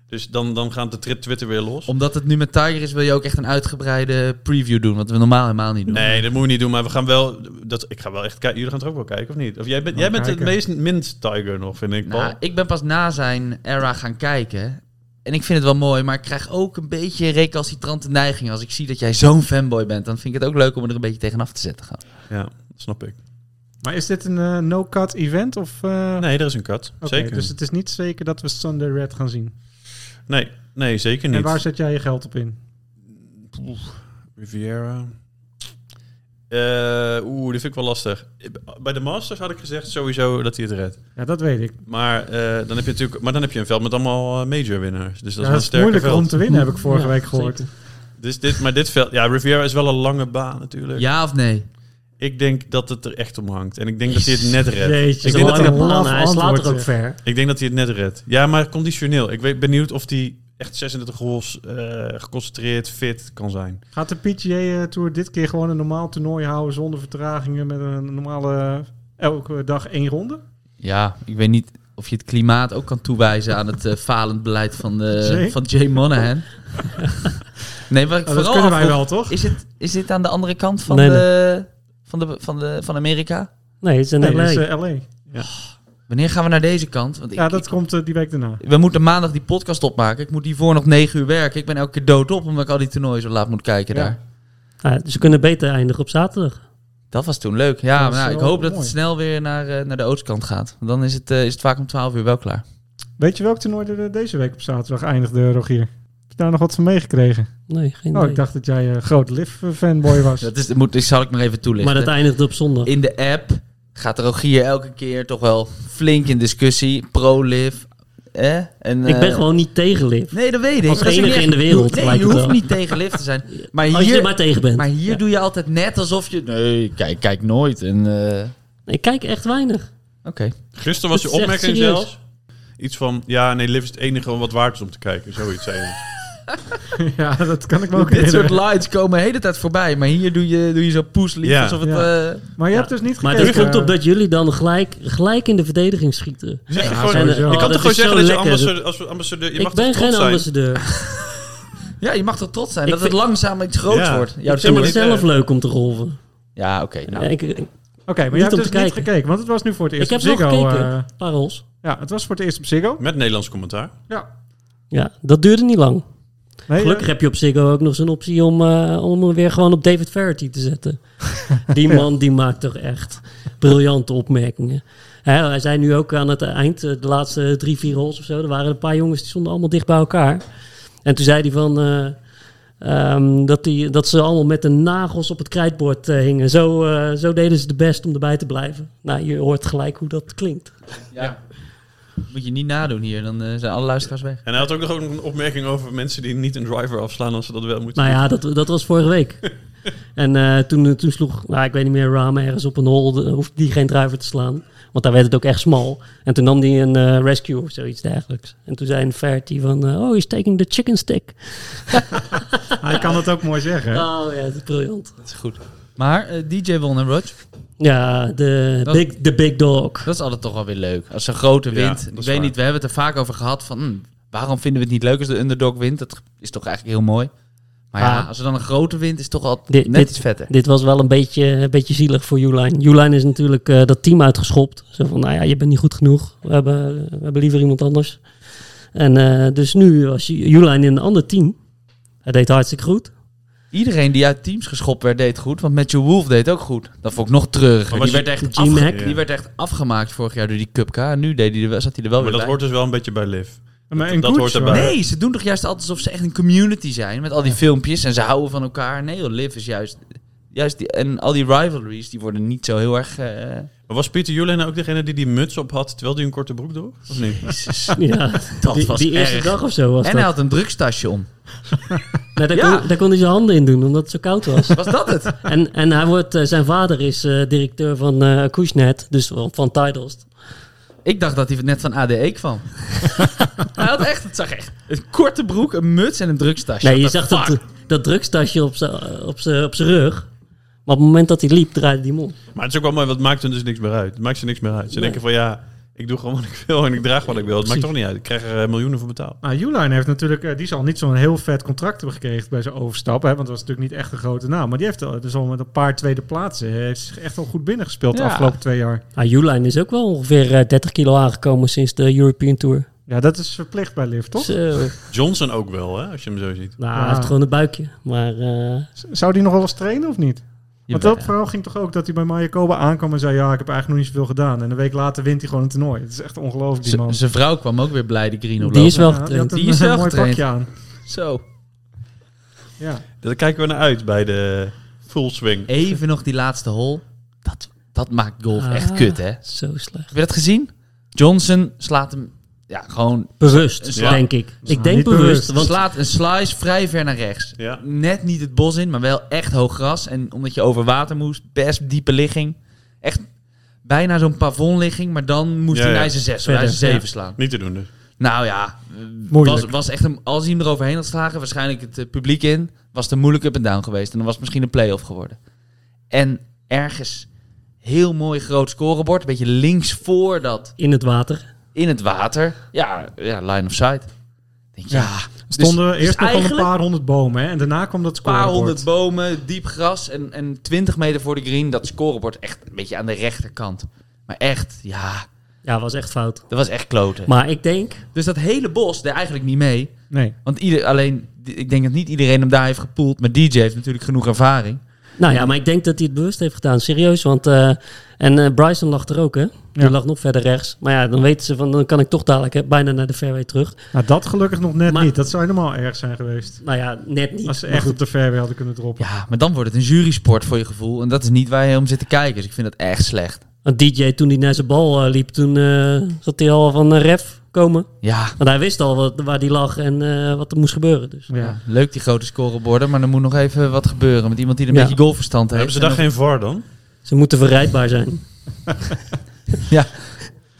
A: Dus dan, dan gaat de tri- Twitter weer los.
D: Omdat het nu met Tiger is, wil je ook echt een uitgebreide preview doen. Wat we normaal helemaal niet doen.
A: Nee, dat moet je niet doen, maar we gaan wel... Dat, ik ga wel echt kijken. Jullie gaan het ook wel kijken, of niet? Of jij bent,
E: Gaan
A: jij bent het
E: kijken.
A: meest mint tiger nog, vind ik.
D: Nou,
A: Paul.
D: ik ben pas na zijn era gaan kijken. En ik vind het wel mooi, maar ik krijg ook een beetje recalcitrante neigingen. Als ik zie dat jij zo'n fanboy bent, dan vind ik het ook leuk om er een beetje tegenaf te zetten. Gaan.
A: Ja, dat snap ik.
E: Maar is dit een eh, no-cut event? Of, eh,
A: Nee, er is een cut.
E: oké,
A: zeker.
E: Dus het is niet zeker dat we Sunday Red gaan zien.
A: Nee, nee, zeker
E: En
A: niet.
E: waar zet jij je geld op in?
A: Riviera. Eh, Oeh, die vind ik wel lastig. Bij de Masters had ik gezegd sowieso dat hij het redt.
E: Ja, dat weet ik.
A: Maar, eh, dan, heb je natuurlijk, maar dan heb je een veld met allemaal eh, major winnaars. Dus dat is wel een
E: ja, het is
A: sterke
E: moeilijk om
A: veld.
E: te winnen, heb ik vorige
C: Ja,
E: week gehoord.
C: zeker.
A: Dus dit, maar dit veld... Ja, Riviera is wel een lange baan natuurlijk.
D: Ja of nee?
A: Ik denk dat het er echt om hangt. En ik denk dat hij het net redt.
E: Jeetje,
A: ik, denk
E: dat
A: dat
E: was
A: hij,
E: een
C: baan,
E: laf
C: hij slaat
E: antwoord,
C: er ook
E: zeg.
C: ver.
A: ik denk dat hij het net redt. Ja, maar conditioneel. Ik ben benieuwd of hij echt 36 holes eh, geconcentreerd, fit kan zijn.
E: Gaat de PGA eh, Tour dit keer gewoon een normaal toernooi houden zonder vertragingen met een normale eh, elke dag één ronde?
D: Ja, ik weet niet of je het klimaat ook kan toewijzen aan het eh, falend beleid van, eh,
E: Jay?
D: van Jay Monahan. nee, wat ik
E: Nou, dat
D: vooral
E: kunnen wij
D: afvroeg,
E: wel, toch?
D: Is dit, is dit aan de andere kant van,
C: Nee,
D: de, van, de, van, de, van Amerika?
C: Nee, het is een
E: Nee,
C: LA.
E: dat is eh, LA.
D: Wanneer gaan we naar deze kant? Want ik,
E: Ja, dat komt eh, die week daarna.
D: We moeten maandag die podcast opmaken. Ik moet hiervoor nog negen uur werken. Ik ben elke keer doodop omdat ik al die toernooien zo laat moet kijken
E: Ja.
D: daar.
C: Ah, ze kunnen beter eindigen op zaterdag.
D: Dat was toen leuk. Ja,
E: Dat
D: maar
E: is
D: nou, ik
E: wel
D: hoop dat
E: mooi.
D: het snel weer naar, eh, naar de oostkant gaat. Want Dan is het, eh, is het vaak om 12 uur wel klaar.
E: Weet je welk toernooi er eh, deze week op zaterdag eindigde, Rogier? Heb je daar nog wat van meegekregen?
C: Nee, geen
E: Oh,
C: idee.
E: ik dacht dat jij een groot Liv-fanboy was.
D: Dat is, dat moet, ik zal ik maar even toelichten.
C: maar dat eindigt op zondag.
D: In de app gaat Rogier elke keer toch wel flink in discussie. Pro-live. Eh? En,
C: ik ben
D: eh,
C: gewoon niet tegen Liv.
D: Nee, dat weet ik.
C: Als
D: Dat is
C: enige
D: niet echt-
C: in de wereld,
D: Nee,
C: lijkt
D: je
C: het
D: hoeft
C: wel.
D: niet tegen live te zijn. Maar hier,
C: Als je er maar tegen bent.
D: maar hier doe je altijd net alsof je... Nee, ik kijk, kijk nooit. En, eh, Oké.
C: Ik kijk echt weinig.
A: Gisteren was je
C: Dat is echt
A: opmerking
C: serieus.
A: zelfs. Iets van, ja, nee, Liv is het enige wat waard is om te kijken. Zoiets zei je.
E: ja, dat kan ik me ook
D: Dit soort
E: herinneren.
D: lights komen de hele tijd voorbij. Maar hier doe je, doe je zo poeslief.
A: Ja.
D: Alsof het...
E: Ja.
D: eh,
E: Maar je
C: Ja,
E: hebt dus niet
C: Maar
E: gekeken.
C: dat komt op dat jullie dan gelijk, gelijk in de verdediging schieten.
A: Zeg je
E: Ja,
A: gewoon-
E: sowieso.
A: je
E: Oh,
A: kan
C: dat
A: toch gewoon
C: is zo
A: zeggen dat je
C: lekker.
A: ambassadeur, als ambassadeur... Je mag
C: ik ben
A: toch
C: geen
A: trots zijn?
C: ambassadeur.
D: ja, je mag er trots zijn
C: Ik
D: dat het
C: vind-
D: langzaam iets groots
A: Ja.
D: wordt. Jouw
A: zeg
C: Ik vind
A: maar
D: tour.
C: het
A: niet,
C: zelf
A: eh,
C: leuk om te golven.
D: Ja, oké. nou.
C: Ja, ik, ik,
E: Oké, maar je hebt
C: om
E: dus
C: te
E: niet
C: kijken.
E: gekeken, want het was nu voor het
C: ik
E: eerst
C: heb
E: op
C: wel
E: Ziggo.
C: gekeken.
E: eh,
C: Parels.
E: ja, het was voor het eerst op Ziggo.
A: Met Nederlands commentaar.
E: Ja.
C: Ja, dat duurde niet lang.
E: Nee,
C: Gelukkig
E: eh,
C: heb je op Ziggo ook nog zo'n optie om, eh, om hem weer gewoon op David Verity te zetten. Die man die maakt toch echt briljante opmerkingen. Hè, hij zei nu ook aan het eind, eh, de laatste drie, vier holes of zo, er waren een paar jongens die stonden allemaal dicht bij elkaar. En toen zei hij van eh, ehm, dat, die, dat ze allemaal met de nagels op het krijtbord eh, hingen. Zo, eh, zo deden ze de best om erbij te blijven. Nou, je hoort gelijk hoe dat klinkt.
D: Ja. Moet je niet nadoen hier, dan eh, zijn alle luisteraars weg.
A: En hij had ook nog een opmerking over mensen die niet een driver afslaan als ze dat wel moeten
C: Nou ja, dat, dat was vorige week. En eh, toen, toen sloeg, nou, ik weet niet meer, Rama ergens op een hol, de- hoefde die geen driver te slaan. Want daar werd het ook echt smal. En toen nam hij een eh, rescue of zoiets dergelijks. En toen zei een Verity van, eh, oh, he's taking the chicken stick.
E: eh, Hij kan het ook mooi zeggen. hè?
C: Oh ja, dat is briljant.
D: Dat is goed. Maar eh, DJ won en Rudge,
C: Ja, de
D: Dat-
C: big, the big dog.
D: dat is altijd toch wel weer leuk. Als een grote
A: Ja,
D: wint.
A: dat
D: ik
A: is
D: weet
A: waar.
D: niet, we hebben het er vaak over gehad van... hm, waarom vinden we het niet leuk als de underdog wint? Dat is toch eigenlijk heel mooi. Maar ja,
C: Ah.
D: als er dan een grote wint, is het toch altijd
C: Dit-
D: net
C: dit-
D: iets vetter.
C: Dit was wel een beetje, een beetje zielig voor Uline. Uline is natuurlijk eh, dat team uitgeschopt. Zo van, nou ja, je bent niet goed genoeg. We hebben, we hebben liever iemand anders. En eh, dus nu was Uline in een ander team. Hij deed hartstikke goed.
D: Iedereen die uit teams geschopt werd, deed goed. Want Matthew Wolf deed ook goed. Dat vond ik nog terug.
A: Maar
D: Die,
A: was
D: werd
A: je-
D: echt
C: G-Mac?
D: afge-
A: Ja.
D: die werd echt afgemaakt vorig jaar door die Cupka. En nu deed hij er, wel- zat hij er wel
A: Maar
D: weer
A: dat
D: bij.
A: hoort dus wel een beetje bij Liv.
E: Maar
A: dat-
E: een eh,
A: dat
E: goed
A: hoort
E: zo.
A: erbij.
D: Nee, ze doen toch juist altijd alsof ze echt een community zijn met al die filmpjes en ze houden van elkaar. Nee, joh, Liv is juist. juist die, en al die rivalries die worden niet zo heel erg. eh,
A: Maar was Pieter Julen ook degene die die muts op had terwijl hij een korte broek droeg? Of niet?
C: Ja,
D: dat
C: die,
D: was
C: die
D: erg.
C: eerste dag of zo was
D: en hij
C: dat.
D: had een drugstasje om.
C: Nou, daar,
D: Ja.
C: kon, daar kon hij zijn handen in doen, omdat het zo koud was.
D: Was dat het?
C: en en hij wordt, eh, zijn vader is eh, directeur van eh Cushnet, dus wel van Tidalst.
D: Ik dacht dat hij net van ADE kwam. hij had echt, het zag echt. Een korte broek, een muts en een drugstasje.
C: Nee, je
D: What the
C: zag dat,
D: fuck?
C: dat drugstasje op zijn op zijn- op zijn rug. Maar op het moment dat hij liep, draaide hij hem om.
A: Maar het is ook wel mooi, want het maakt hun dus niks meer uit. Het maakt ze niks meer uit. Ze
C: Nee.
A: denken van ja, ik doe gewoon wat ik wil en ik draag wat ik wil. Het maakt toch niet uit. Ik krijg er eh, miljoenen voor betaald.
E: Nou, Uline heeft natuurlijk, eh, die zal niet zo'n heel vet contract hebben gekregen bij zijn overstap. Hè, want dat was natuurlijk niet echt een grote naam. Maar die heeft al, dus al met een paar tweede plaatsen. eh, Heeft zich echt al goed binnengespeeld
D: Ja.
E: de afgelopen twee jaar.
C: Nou, Uline is ook wel ongeveer eh, 30 kilo aangekomen sinds de European Tour.
E: Ja, dat is verplicht bij Liv, toch? Nou,
C: Zo. nou,
A: Johnson ook wel, hè, als je hem zo ziet.
C: hij heeft gewoon een buikje. Maar eh,
E: Z- Zou die nog wel eens trainen of niet? Want
D: Jawel.
E: dat verhaal ging toch ook dat hij bij Mayakoba aankwam en zei... ja, ik heb eigenlijk nog niet zoveel gedaan. En een week later wint hij gewoon een toernooi. Het is echt ongelooflijk, die man.
D: Z- Zijn vrouw kwam ook weer blij, die Green
C: die is wel
E: Ja, die had
C: getraind.
E: een,
D: Die is
E: eh,
D: wel
E: mooi
D: getraind.
E: pakje aan.
D: Zo.
E: Ja.
A: Daar kijken we naar uit bij de full swing.
D: Even nog die laatste hol. Dat, dat maakt golf echt
C: Ah.
D: kut, hè?
C: Zo slecht.
D: Heb je dat gezien? Johnson slaat hem. Ja, gewoon.
C: Bewust,
A: Ja.
C: denk ik.
E: Nou,
C: Ik denk
E: niet
C: bewust.
E: bewust.
C: Want
D: slaat een slice vrij ver naar rechts.
A: Ja.
D: Net niet het bos in, maar wel echt hoog gras. En omdat je over water moest, best diepe ligging. Echt bijna zo'n pavonligging, maar dan moest
A: Ja,
D: hij
A: ja.
D: naar zijn zes of
C: Verder,
D: naar zijn zeven
C: ja.
D: slaan.
A: Niet te doen dus.
D: Nou ja, was,
E: Moeilijk.
D: was echt een, als hij hem eroverheen had geslagen, waarschijnlijk het eh, publiek in, was het een moeilijk up-and-down geweest. En dan was het misschien een play-off geworden. En ergens heel mooi groot scorebord, een beetje links voor dat
C: in het water.
D: in het water. Ja, ja line of sight. Ik Denk, ja,
E: Stonden
D: dus
E: eerst nog wel een
D: eigenlijk-
E: paar honderd bomen. Hè? En daarna kwam dat
D: een paar
E: scorebord.
D: honderd bomen, diep gras en, en 20 meter voor de green. Dat scorebord echt een beetje aan de rechterkant. Maar echt, ja,
C: Ja, was echt fout.
D: dat was echt kloten.
C: Maar ik denk,
D: Dus dat hele bos deed eigenlijk niet mee.
E: Nee.
D: Want ieder, alleen, d- ik denk dat niet iedereen hem daar heeft gepoeld. Maar DJ heeft natuurlijk genoeg ervaring.
C: nou ja, maar ik denk dat hij het bewust heeft gedaan. Serieus, want eh, en eh, Bryson lag er ook, hè? Die
E: Ja.
C: lag nog verder rechts. Maar ja, dan weten ze van, dan kan ik toch dadelijk hè, bijna naar de fairway terug.
E: Nou, dat gelukkig nog net
C: Maar-
E: niet. Dat zou helemaal erg zijn geweest.
C: Nou ja, net niet.
E: Als ze
C: Maar
E: echt
C: goed.
E: op de fairway hadden kunnen droppen.
D: Ja, maar dan wordt het een jurysport voor je gevoel. En dat is niet waar je om zit te kijken. Dus ik vind dat echt slecht.
C: Want DJ, toen hij naar zijn bal eh, liep, toen eh, zat hij al van eh, ref komen.
D: Ja,
C: Want hij wist al wat, waar hij lag en eh, wat er moest gebeuren. Dus.
E: Ja.
D: ja, leuk die grote scoreborden. Maar er moet nog even wat gebeuren met iemand die een
C: Ja.
D: beetje golfverstand heeft.
A: Hebben ze daar
D: En
A: geen VAR dan?
C: Ze moeten verrijdbaar zijn.
D: Ja,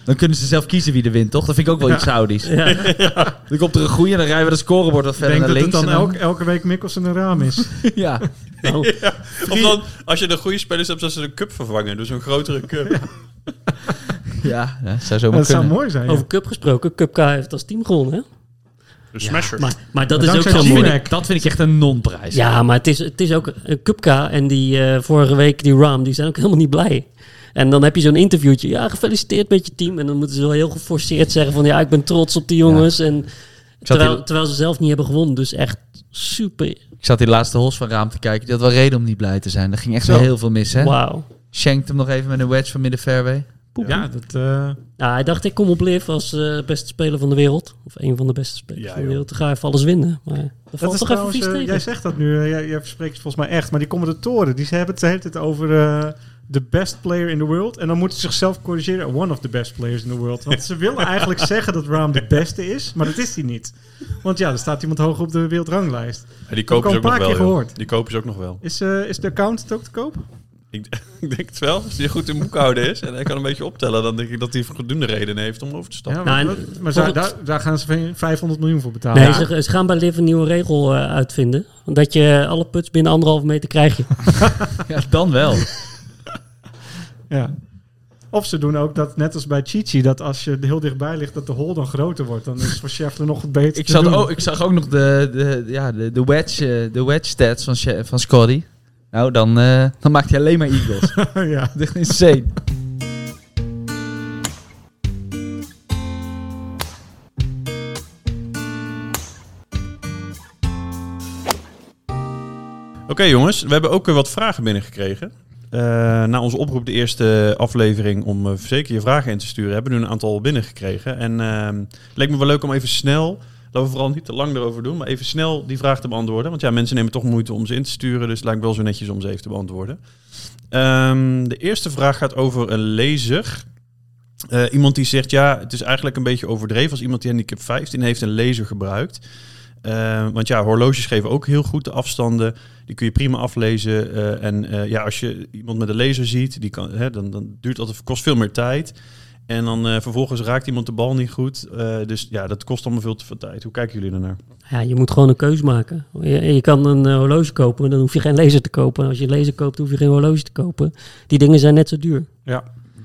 D: Dan kunnen ze zelf kiezen wie er wint, toch? Dat vind ik ook wel iets Saudi's.
C: Ja.
D: Dan komt er een goeie en dan rijden we dat scorebord wat verder
E: denk
D: naar
E: dat het
D: links.
E: dan
D: en
E: elke, elke week Mikkelsen een raam is.
D: Ja.
C: Nou,
A: Of dan, als je de goede spelers hebt, dat ze de cup vervangen. Dus een grotere cup.
D: ja, dat zou zomaar
E: dat zou
D: kunnen.
E: mooi zijn. ja.
C: over Cup gesproken. Cup K heeft als team gewonnen, hè?
A: De smasher.
C: Maar, maar dat
E: Maar
C: is ook
E: dankzij
C: zo
E: Gmac.
C: moeilijk.
D: Dat vind ik echt een non-prijs.
C: Ja, maar het is, het is ook een Cupka en die eh, vorige week, die Ram, die zijn ook helemaal niet blij. En dan heb je zo'n interviewtje. Ja, gefeliciteerd met je team. En dan moeten ze wel heel geforceerd zeggen van ja, ik ben trots op die jongens. En
D: zat
C: terwijl,
D: hier-
C: terwijl ze zelf niet hebben gewonnen. Dus echt super.
D: Ik zat die laatste hols van Raam te kijken. Die had wel reden om niet blij te zijn. Er ging echt
E: Zo.
D: heel veel mis, hè?
C: Wauw.
D: Shankt hem nog even met een wedge van midden fairway.
E: Ja, dat, eh,
C: Ja, Nou, hij dacht, ik kom op Liv als eh, beste speler van de wereld. Of een van de beste spelers
A: Ja,
C: van de
A: joh.
C: wereld. Dan ga je even alles winnen. Maar dat,
E: dat
C: valt
E: is
C: toch
E: trouwens,
C: even
E: eh,
C: vies tegen.
E: jij zegt dat nu, eh, jij, jij spreekt het volgens mij echt, maar die commentatoren, die ze hebben het de hele tijd over eh, the best player in the world. En dan moeten ze zichzelf corrigeren, one of the best players in the world. Want ze willen eigenlijk zeggen dat Raam de beste is, maar dat is hij niet. Want ja, er staat iemand hoog op de wereldranglijst.
A: Ja, die kopen
E: al
A: ze
E: een
A: ook nog wel.
E: paar keer
A: joh.
E: gehoord.
A: Die kopen ze ook nog wel.
E: Is, eh, is de account het ook te koop?
A: Ik, ik denk het wel. Als die goed in boekhouden is en hij kan een beetje optellen, dan denk ik dat hij voldoende reden heeft om over te stappen.
E: Ja, maar
C: en-
E: dat- maar daar, daar, daar gaan ze 500 miljoen voor betalen.
C: Nee, ze, ze gaan bij Liv een nieuwe regel eh, uitvinden. Dat je alle puts binnen anderhalve meter krijg je.
D: Ja, dan wel.
E: Ja. Of ze doen ook dat, net als bij Chichi, dat als je heel dichtbij ligt, dat de hole dan groter wordt. Dan is het voor Scheffler nog het beter.
D: ik,
E: te
D: zat
E: doen.
D: ook, ik zag ook nog de, de, ja, de, de, wedge, eh, de wedge stats van, Sha- van Scotty. Nou, dan, eh, dan maakt hij alleen maar eagles.
E: ja.
D: Dat is echt insane.
A: Oké jongens, we hebben ook weer wat vragen binnengekregen. Eh na onze oproep, de eerste aflevering om eh, zeker je vragen in te sturen, hebben we nu een aantal binnengekregen. En ehm, het leek me wel leuk om even snel, laten we vooral niet te lang erover doen, maar even snel die vraag te beantwoorden. Want ja, mensen nemen toch moeite om ze in te sturen, dus het lijkt me wel zo netjes om ze even te beantwoorden. Ehm, de eerste vraag gaat over een lezer. Eh, iemand die zegt, ja, het is eigenlijk een beetje overdreven als iemand die handicap 15 heeft een laser gebruikt. Eh, want ja, horloges geven ook heel goed de afstanden. Die kun je prima aflezen. eh, en eh, ja, als je iemand met een laser ziet, die kan, hè, dan, dan duurt dat, kost veel meer tijd. En dan eh, vervolgens raakt iemand de bal niet goed. Eh, dus ja, dat kost allemaal veel te veel tijd. Hoe kijken jullie daarnaar?
C: Ja, je moet gewoon een keuze maken. Je, je kan een eh, horloge kopen, en dan hoef je geen laser te kopen. En Als je een laser koopt, hoef je geen horloge te kopen. Die dingen zijn net zo duur.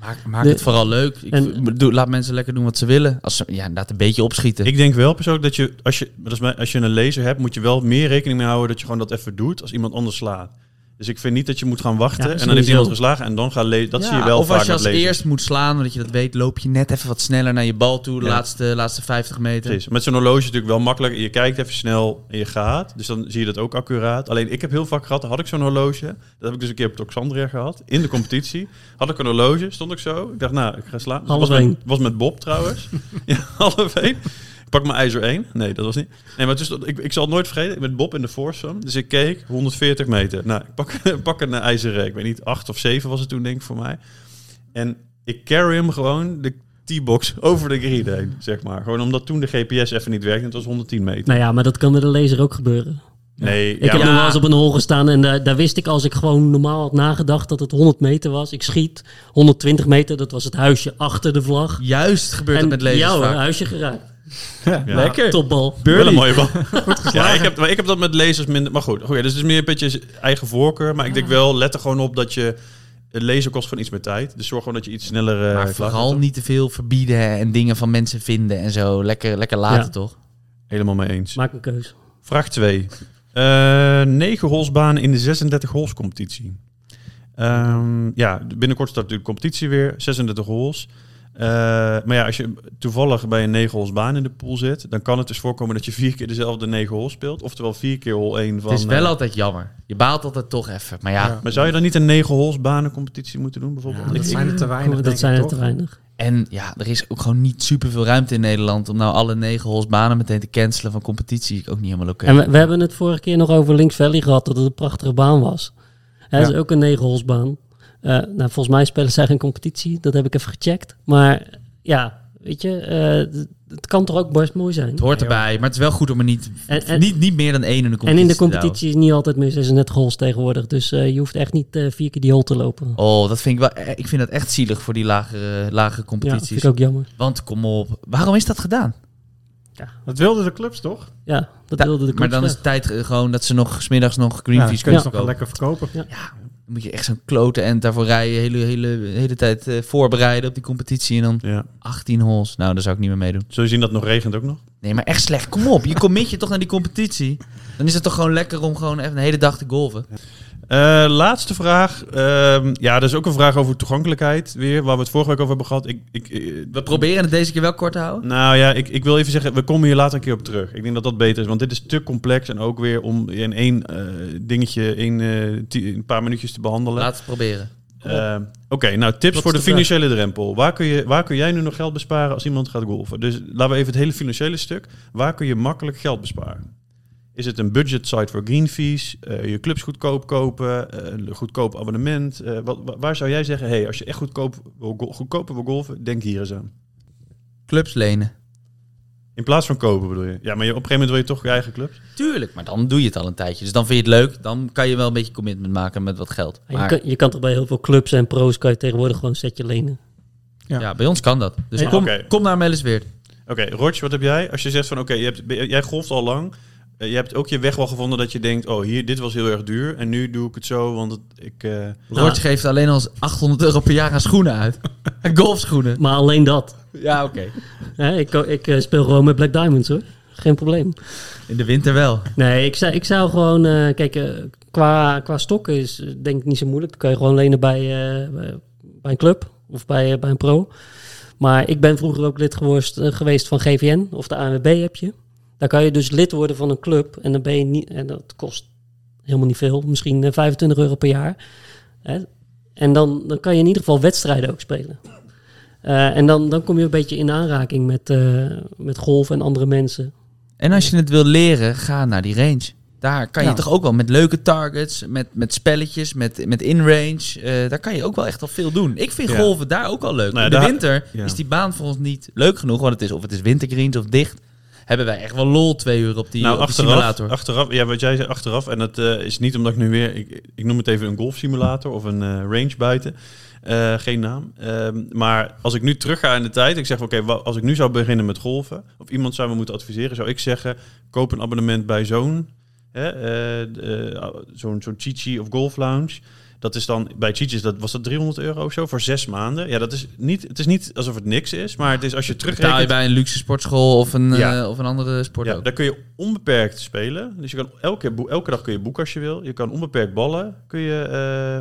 D: Maak, maak
C: De-
D: het vooral leuk. Ik
C: en-
D: v- bedoel, laat mensen lekker doen wat ze willen. Als ze ja, inderdaad een beetje opschieten.
A: Ik denk wel persoonlijk dat je, als je, dat is mijn- als je een laser hebt, moet je wel meer rekening mee houden dat je gewoon dat even doet als iemand anders slaat. Dus ik vind niet dat je moet gaan wachten
C: Ja,
A: en dan heeft
C: sowieso.
A: iemand geslagen en dan gaan lezen. Dat
D: Ja,
A: zie je wel
D: Of
A: vaak
D: als je
A: met
D: als
A: lasers.
D: eerst moet slaan, omdat je dat weet, loop je net even wat sneller naar je bal toe. De
A: Ja.
D: laatste, laatste 50 meter.
A: Precies. Met zo'n horloge is het natuurlijk wel makkelijk. Je kijkt even snel en je gaat. Dus dan zie je dat ook accuraat. Alleen ik heb heel vaak gehad, dan had ik zo'n horloge. Dat heb ik dus een keer op Toxandria gehad. In de competitie. Had ik een horloge, stond ik zo. Ik dacht, nou, ik ga slaan.
C: Half
A: was, met,
C: één.
A: was met Bob trouwens. ja, half één. Ik pak mijn ijzer 1. Nee, dat was niet. Nee, maar het is, ik, ik zal het nooit vergeten. Ik ben Bob in de foursome. Dus ik keek, 140 meter. Nou, ik pak, pak een eh, ijzer eh, Ik weet niet, 8 of 7 was het toen denk ik voor mij. En ik carry hem gewoon de T-box over de grid heen, zeg maar. Gewoon omdat toen de GPS even niet werkte. en Het was 110 meter.
C: Nou ja, maar dat kan met een laser ook gebeuren.
A: Nee,
C: Ik
A: ja,
C: heb
A: maar-
C: nog wel eens op een hol gestaan en daar, daar wist ik als ik gewoon normaal had nagedacht dat het 100 meter was. Ik schiet 120 meter, dat was het huisje achter de vlag.
D: Juist gebeurt
C: en
D: dat met lezen.
C: jouw huisje geraakt.
A: ja.
D: Lekker.
C: Topbal.
A: Wel een mooie bal. ja, ik, heb, maar ik heb dat met lezers minder. Maar goed, goed ja, dus het is meer een beetje eigen voorkeur. Maar ik denk wel, let er gewoon op dat je. Het lezen kost gewoon iets meer tijd. Dus zorg gewoon dat je iets sneller. eh,
D: Maar
A: klaar
D: vooral
A: bent.
D: niet te veel verbieden en dingen van mensen vinden en zo. Lekker, lekker laten,
C: Ja.
D: toch?
A: Helemaal mee eens.
C: Maak een keuze.
A: Vraag 2. Eh 9 holsbanen in de 36 hols competitie. Ehm, ja, binnenkort start de competitie weer. 36 hols. Eh, maar ja, als je toevallig bij een 9 holsbaan in de pool zit, dan kan het dus voorkomen dat je vier keer dezelfde 9 hols speelt. Oftewel vier keer hol 1 van.
D: het is wel
A: eh,
D: altijd jammer. Je baalt altijd toch even. Maar ja,
E: Ja.
A: maar zou je dan niet een 9 holsbanen competitie moeten doen bijvoorbeeld?
E: dat
A: Ik-
E: zijn er te weinig, denk
C: Oh, dat
E: ik,
C: zijn er
E: toch?
C: te weinig.
D: en ja, er is ook gewoon niet superveel ruimte in Nederland om nou alle negen hols banen meteen te cancelen van competitie. Ook niet helemaal oké.
C: En we, we hebben het vorige keer nog over Links Valley gehad, dat het een prachtige baan was. Hij
E: Ja.
C: is ook een negenholsbaan. Eh nou, volgens mij spelen zij geen competitie, dat heb ik even gecheckt. Maar ja, weet je, eh, d- het kan toch ook best mooi zijn.
D: Het hoort erbij, maar het is wel goed om er niet,
C: En- en-
D: niet, niet meer dan één in de competitie
C: En in de
D: te houden.
C: competitie is niet altijd mis, is er net goals tegenwoordig. Dus eh, je hoeft echt niet eh, vier keer die hol te lopen.
D: Oh, dat vind ik wel. Ik vind dat echt zielig voor die lagere, lagere
C: ja, dat
D: competities.
C: vind ik ook jammer.
D: Want kom op, waarom is dat gedaan?
E: Dat wilden de clubs toch?
C: Ja, dat
D: Da-
C: wilde de
D: maar
C: coach
D: dan is
C: graag.
D: het tijd eh, gewoon dat ze nog 's middags nog
E: Ja,
D: Greenpeace
E: dat
D: kunnen
E: kunnen ze nog wel
D: kopen.
E: lekker verkopen.
D: Dan moet je echt zo'n klote en daarvoor rijden, hele, hele, hele tijd eh, voorbereiden op die competitie. En dan
A: Ja.
D: 18 holes. Nou, daar zou ik niet meer meedoen.
A: Zul je zien dat het nog regent ook nog?
D: Nee, maar echt slecht. Kom op, je commit je toch naar die competitie. Dan is het toch gewoon lekker om gewoon even een hele dag te golven.
A: Eh, laatste vraag. Ehm, ja, dat is ook een vraag over toegankelijkheid weer, waar we het vorige week over hebben gehad. Ik, ik, eh,
D: We proberen het deze keer wel kort te houden.
A: Nou ja, ik, ik wil even zeggen, we komen hier later een keer op terug. Ik denk dat dat beter is, want dit is te complex en ook weer om in één eh, dingetje, één, eh, ti- een paar minuutjes te behandelen.
D: Laten we het proberen.
A: Eh, Oké, nou tips
D: Wat
A: voor de
D: is de vraag?
A: financiële drempel. Waar kun, je, waar kun jij nu nog geld besparen als iemand gaat golfen? Dus laten we even het hele financiële stuk. Waar kun je makkelijk geld besparen? Is het een budget site voor green fees? eh, je clubs goedkoop kopen? eh, een goedkoop abonnement? eh, wat, wa- waar zou jij zeggen, hey, als je echt goedkoop wil, go- goedkoper wil golfen, denk hier eens aan.
D: Clubs lenen.
A: In plaats van kopen bedoel je? Ja, maar je, op een gegeven moment wil je toch je eigen clubs?
D: Tuurlijk, maar dan doe je het al een tijdje. Dus dan vind je het leuk. Dan kan je wel een beetje commitment maken met wat geld.
C: Ja,
D: Maar
C: je, kan, je kan toch bij heel veel clubs en pro's kan je tegenwoordig gewoon een setje lenen.
E: Ja.
D: ja, bij ons kan dat. Dus
A: Ja,
D: kom,
A: oké.
D: kom naar Mellisweert.
A: Oké, Roger, wat heb jij? Als je zegt van, oké, je hebt- ben- jij golft al lang. eh, je hebt ook je weg wel gevonden dat je denkt, oh, hier, dit was heel erg duur. En nu doe ik het zo, want het, ik... eh,
D: Rotje geeft alleen al eens 800 euro per jaar aan schoenen uit. Aan golfschoenen.
C: Maar alleen dat.
D: Ja, oké.
C: Hè, ik ik eh, speel gewoon met Black Diamonds hoor. Geen probleem.
D: In de winter wel.
C: Nee, ik zou, ik zou gewoon... eh, kijk, eh, qua, qua stokken is eh, denk ik niet zo moeilijk. Dan kan je gewoon lenen bij, eh, bij- bij een club of bij, eh, bij een pro. Maar ik ben vroeger ook lid geworst, eh, geweest van GVN of de ANWB heb je. Daar kan je dus lid worden van een club en dan ben je niet... En dat kost helemaal niet veel. Misschien eh, 25 euro per jaar. Hè? En dan, dan kan je in ieder geval wedstrijden ook spelen. Eh, en dan, dan kom je een beetje in aanraking met, eh, met golf en andere mensen.
D: En als je het wil leren, ga naar die range. Daar kan je
C: Ja.
A: Nou.
D: toch ook wel met leuke targets, met, met spelletjes, met, met in-range. eh, daar kan je ook wel echt al veel doen. Ik vind
A: Ja.
D: golven daar ook wel leuk.
A: Nou ja,
D: In de
A: daar-
D: winter
A: ja.
D: is die baan voor ons niet leuk genoeg. Want het is, of het is wintergreens of dicht. Hebben wij echt wel lol twee uur op die,
A: nou,
D: op die
A: achteraf,
D: simulator.
A: achteraf, ja, wat jij zei, achteraf. En dat eh, is niet omdat ik nu weer, ik, ik noem het even een golfsimulator of een eh, range buiten. Eh, geen naam. Ehm, maar als ik nu terug ga in de tijd, ik zeg, oké, wa- als ik nu zou beginnen met golven, of iemand zou me moeten adviseren, zou ik zeggen, koop een abonnement bij zo'n, hè, eh, d- eh, zo'n, zo'n Chichi of Golf Lounge. Dat is dan, bij Chichi's, dat, was dat 300 euro of zo voor zes maanden. Ja, dat is niet, het is niet alsof het niks is, maar het is als je
D: Betaal je
A: terugrekent...
D: bij een luxe sportschool of een,
A: Ja.
D: eh, of een andere sport
A: Ja,
D: ook.
A: daar kun je onbeperkt spelen. Dus je kan elke, boe- elke dag kun je boeken als je wil. Je kan onbeperkt ballen kun je,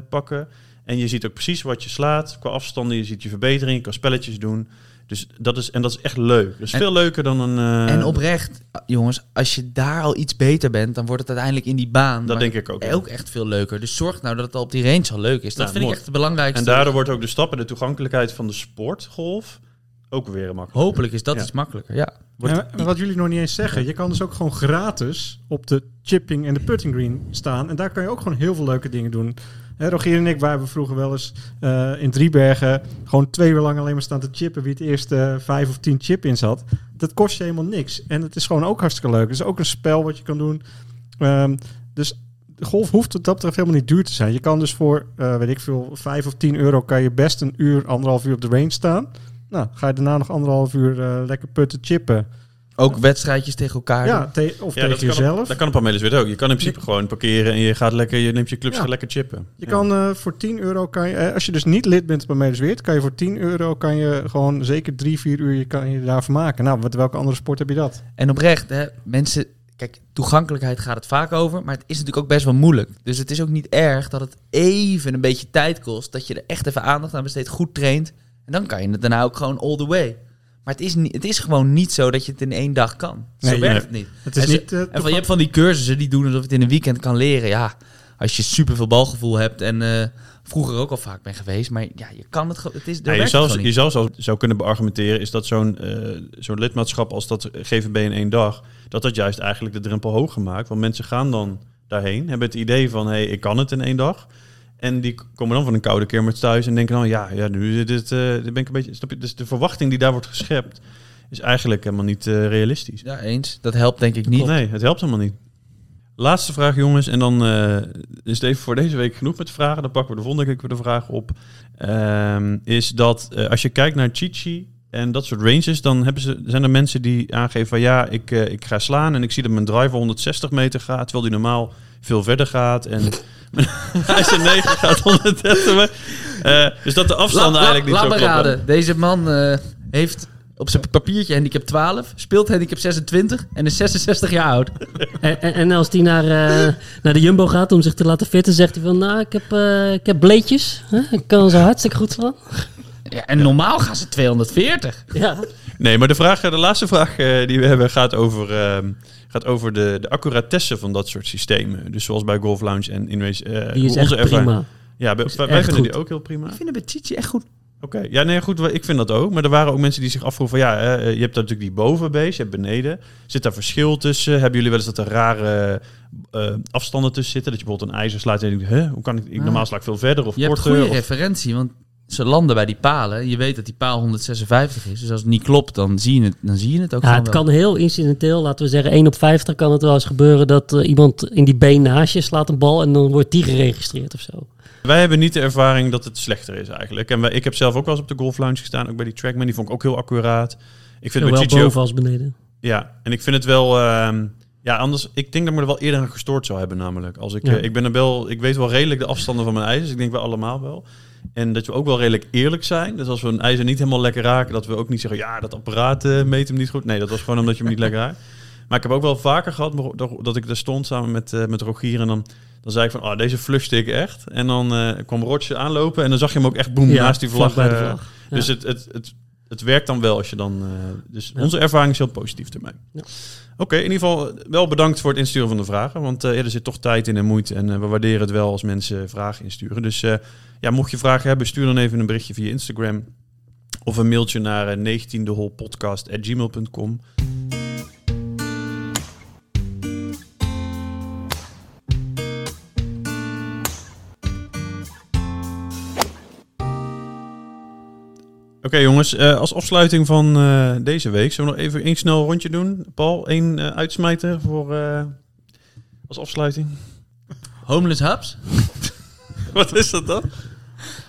A: eh, pakken. En je ziet ook precies wat je slaat qua afstanden. Je ziet je verbetering, je kan spelletjes doen. Dus dat is, en dat is echt leuk. Dat is
D: En-
A: veel leuker dan een... eh,
D: En oprecht, jongens, als je daar al iets beter bent, dan wordt het uiteindelijk in die baan.
A: Dat
D: maar
A: denk ik ook. ja.
D: ook echt veel leuker. Dus zorg nou dat het al op die range al leuk is. Dat
A: Nou,
D: vind ik
A: mooi.
D: echt het belangrijkste.
A: En daardoor wordt ook de stap en de toegankelijkheid van de sportgolf ook weer makkelijker.
D: Hopelijk is dat
A: Ja.
D: iets makkelijker. Ja.
E: Ja, maar wat jullie nog niet eens zeggen, je kan dus ook gewoon gratis op de chipping en de putting green staan. En daar kan je ook gewoon heel veel leuke dingen doen. Hè, Rogier en ik wij hebben vroeger wel eens eh, in Driebergen gewoon twee uur lang alleen maar staan te chippen wie het eerste vijf of tien chip in zat. Dat kost je helemaal niks. En het is gewoon ook hartstikke leuk. Het is ook een spel wat je kan doen. Ehm, dus golf hoeft wat dat betreft helemaal niet duur te zijn. Je kan dus voor, eh, weet ik veel, vijf of tien euro kan je best een uur, anderhalf uur op de range staan. Nou, ga je daarna nog anderhalf uur eh, lekker putten chippen.
D: Ook wedstrijdjes tegen elkaar.
E: Ja, te- of
A: Ja, dat
E: tegen
A: kan op-
E: jezelf.
A: Dat kan op Amelis weer ook. Je kan in principe gewoon parkeren en je, gaat lekker, je neemt je clubs
E: Ja.
A: gaat lekker chippen.
E: Je
A: Ja.
E: kan eh, voor 10 euro, kan je, eh, als je dus niet lid bent bij Medesweert, kan je voor 10 euro kan je gewoon zeker 3, 4 uur je, kan je daarvan maken. Nou, wat, welke andere sport heb je dat?
D: En oprecht, hè, mensen. Kijk, toegankelijkheid gaat het vaak over. Maar het is natuurlijk ook best wel moeilijk. Dus het is ook niet erg dat het even een beetje tijd kost. Dat je er echt even aandacht aan besteedt. Goed traint. En dan kan je het daarna ook gewoon all the way. Maar het is, niet, het is gewoon niet zo dat je het in één dag kan. Zo
E: Nee,
D: werkt
E: nee.
D: het niet.
E: Het is
D: En ze-
E: niet... eh,
D: En van, je hebt van die cursussen die doen alsof je het in een weekend kan leren. Ja, als je super veel balgevoel hebt en eh, vroeger ook al vaak ben geweest. Maar ja, je kan het gewoon. Het is,
A: Ja,
D: daar
A: je,
D: werkt het
A: zou,
D: gewoon
A: je
D: niet.
A: zou zelfs zou kunnen beargumenteren, is dat zo'n eh, zo'n lidmaatschap als dat GVB in één dag, dat dat juist eigenlijk de drempel hoger maakt. Want mensen gaan dan daarheen, hebben het idee van, hé, hey, ik kan het in één dag. En die k- komen dan van een koude keer met thuis en denken dan, ja, ja nu is dit, eh, dit ben ik een beetje... Snap je? Dus de verwachting die daar wordt geschept is eigenlijk helemaal niet eh, realistisch.
D: Ja, eens. Dat helpt denk ik niet.
A: Nee, het helpt helemaal niet. Laatste vraag, jongens. En dan eh, is het even voor deze week genoeg met vragen. Dan pakken we de volgende keer weer de vraag op. Ehm, is dat eh, als je kijkt naar Chichi en dat soort ranges, dan hebben ze, zijn er mensen die aangeven van ja, ik, eh, ik ga slaan en ik zie dat mijn driver 160 meter gaat, terwijl die normaal veel verder gaat. En hij zijn 9 gaat 130 meter. Eh, dus dat de afstanden
D: Laat-
A: eigenlijk
D: laat-
A: niet
D: laat
A: zo
D: me
A: kloppen.
D: raden. Deze man eh, heeft op zijn papiertje handicap 12, speelt handicap 26 en is 66 jaar oud.
C: En, en, en als die naar, eh, naar de Jumbo gaat om zich te laten fitten, zegt hij van, nou, ik heb, eh, ik heb bleetjes. Hè? Ik kan zo hartstikke goed slaan.
D: Ja, en normaal gaan ze 240.
C: Ja,
A: Nee, maar de, vraag, eh, de laatste vraag eh, die we hebben gaat over, ehm, gaat over de, de accuratesse van dat soort systemen. Dus zoals bij Golf Lounge en Inways. eh,
C: die is
A: hoe
C: echt
A: ervaring-
C: prima.
A: Ja, wij, wij
C: echt
A: vinden die
C: goed.
A: ook heel prima.
D: Ik vind het bij Chichi echt goed.
A: Oké, ja, nee, goed, ik vind dat ook. Maar er waren ook mensen die zich afvroegen van, ja, eh, je hebt daar natuurlijk die bovenbeest, je hebt beneden. Zit daar verschil tussen? Hebben jullie wel eens dat er rare eh, afstanden tussen zitten? Dat je bijvoorbeeld een ijzer slaat en je denkt, hè, hoe kan ik,
C: Ah.
A: ik normaal sla ik veel verder of
D: Je hebt
A: korter?
D: goede
A: of-
D: referentie, want ze landen bij die palen. Je weet dat die paal 156 is. Dus als het niet klopt, dan zie je het, dan zie je het ook
C: Ja,
D: gewoon
C: het
D: wel.
C: kan heel incidenteel, laten we zeggen 1 op 50 kan het wel eens gebeuren dat eh, iemand in die been naast je slaat een bal en dan wordt die geregistreerd of zo.
A: Wij hebben niet de ervaring dat het slechter is eigenlijk. En wij, ik heb zelf ook wel eens op de golf lounge gestaan, ook bij die Trackman. Die vond ik ook heel accuraat. Ik vind het
C: Zowel
A: met Gigi ook-
C: boven als beneden.
A: Ja, en ik vind het wel... ehm, ja, anders... Ik denk dat ik me er wel eerder aan gestoord zou hebben namelijk. Als ik,
C: Ja.
A: eh, ik, ben er wel, ik weet wel redelijk de afstanden van mijn ijzers. Ik denk wel allemaal wel. En dat we ook wel redelijk eerlijk zijn. Dus als we een ijzer niet helemaal lekker raken... dat we ook niet zeggen... ja, dat apparaat eh, meet hem niet goed. Nee, dat was gewoon omdat je hem niet lekker raakt. Maar ik heb ook wel vaker gehad maar dat- dat ik daar stond samen met, eh, met Rogier... en dan, dan zei ik van, oh, deze flushte ik echt. En dan eh, kwam Roger aanlopen en dan zag je hem ook echt boem
C: Ja,
A: naast die vlag.
C: vlak bij de
A: eh,
C: vlag. Ja.
A: Dus het, het, het, het werkt dan wel als je dan... eh, dus onze ervaring is heel positief ermee.
C: Ja.
A: Oké, in ieder geval eh, wel bedankt voor het insturen van de vragen. Want eh, ja, er zit toch tijd in en moeite. En eh, we waarderen het wel als mensen vragen insturen. Dus eh, ja, mocht je vragen hebben, stuur dan even een berichtje via Instagram. Of een mailtje naar eh, 19deholpodcast.gmail.com. Oké jongens, eh, als afsluiting van eh, deze week zullen we nog even één snel rondje doen. Paul, één eh, uitsmijter voor eh, als afsluiting.
D: Homeless Hubs?
A: Wat is dat dan?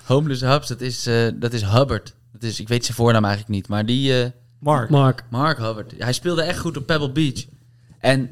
D: Homeless Hubs, dat is, eh, dat is Hubbard. Dat is, ik weet zijn voornaam eigenlijk niet, maar die... eh,
E: Mark.
C: Mark,
D: Mark Hubbard. Hij speelde echt goed op Pebble Beach. En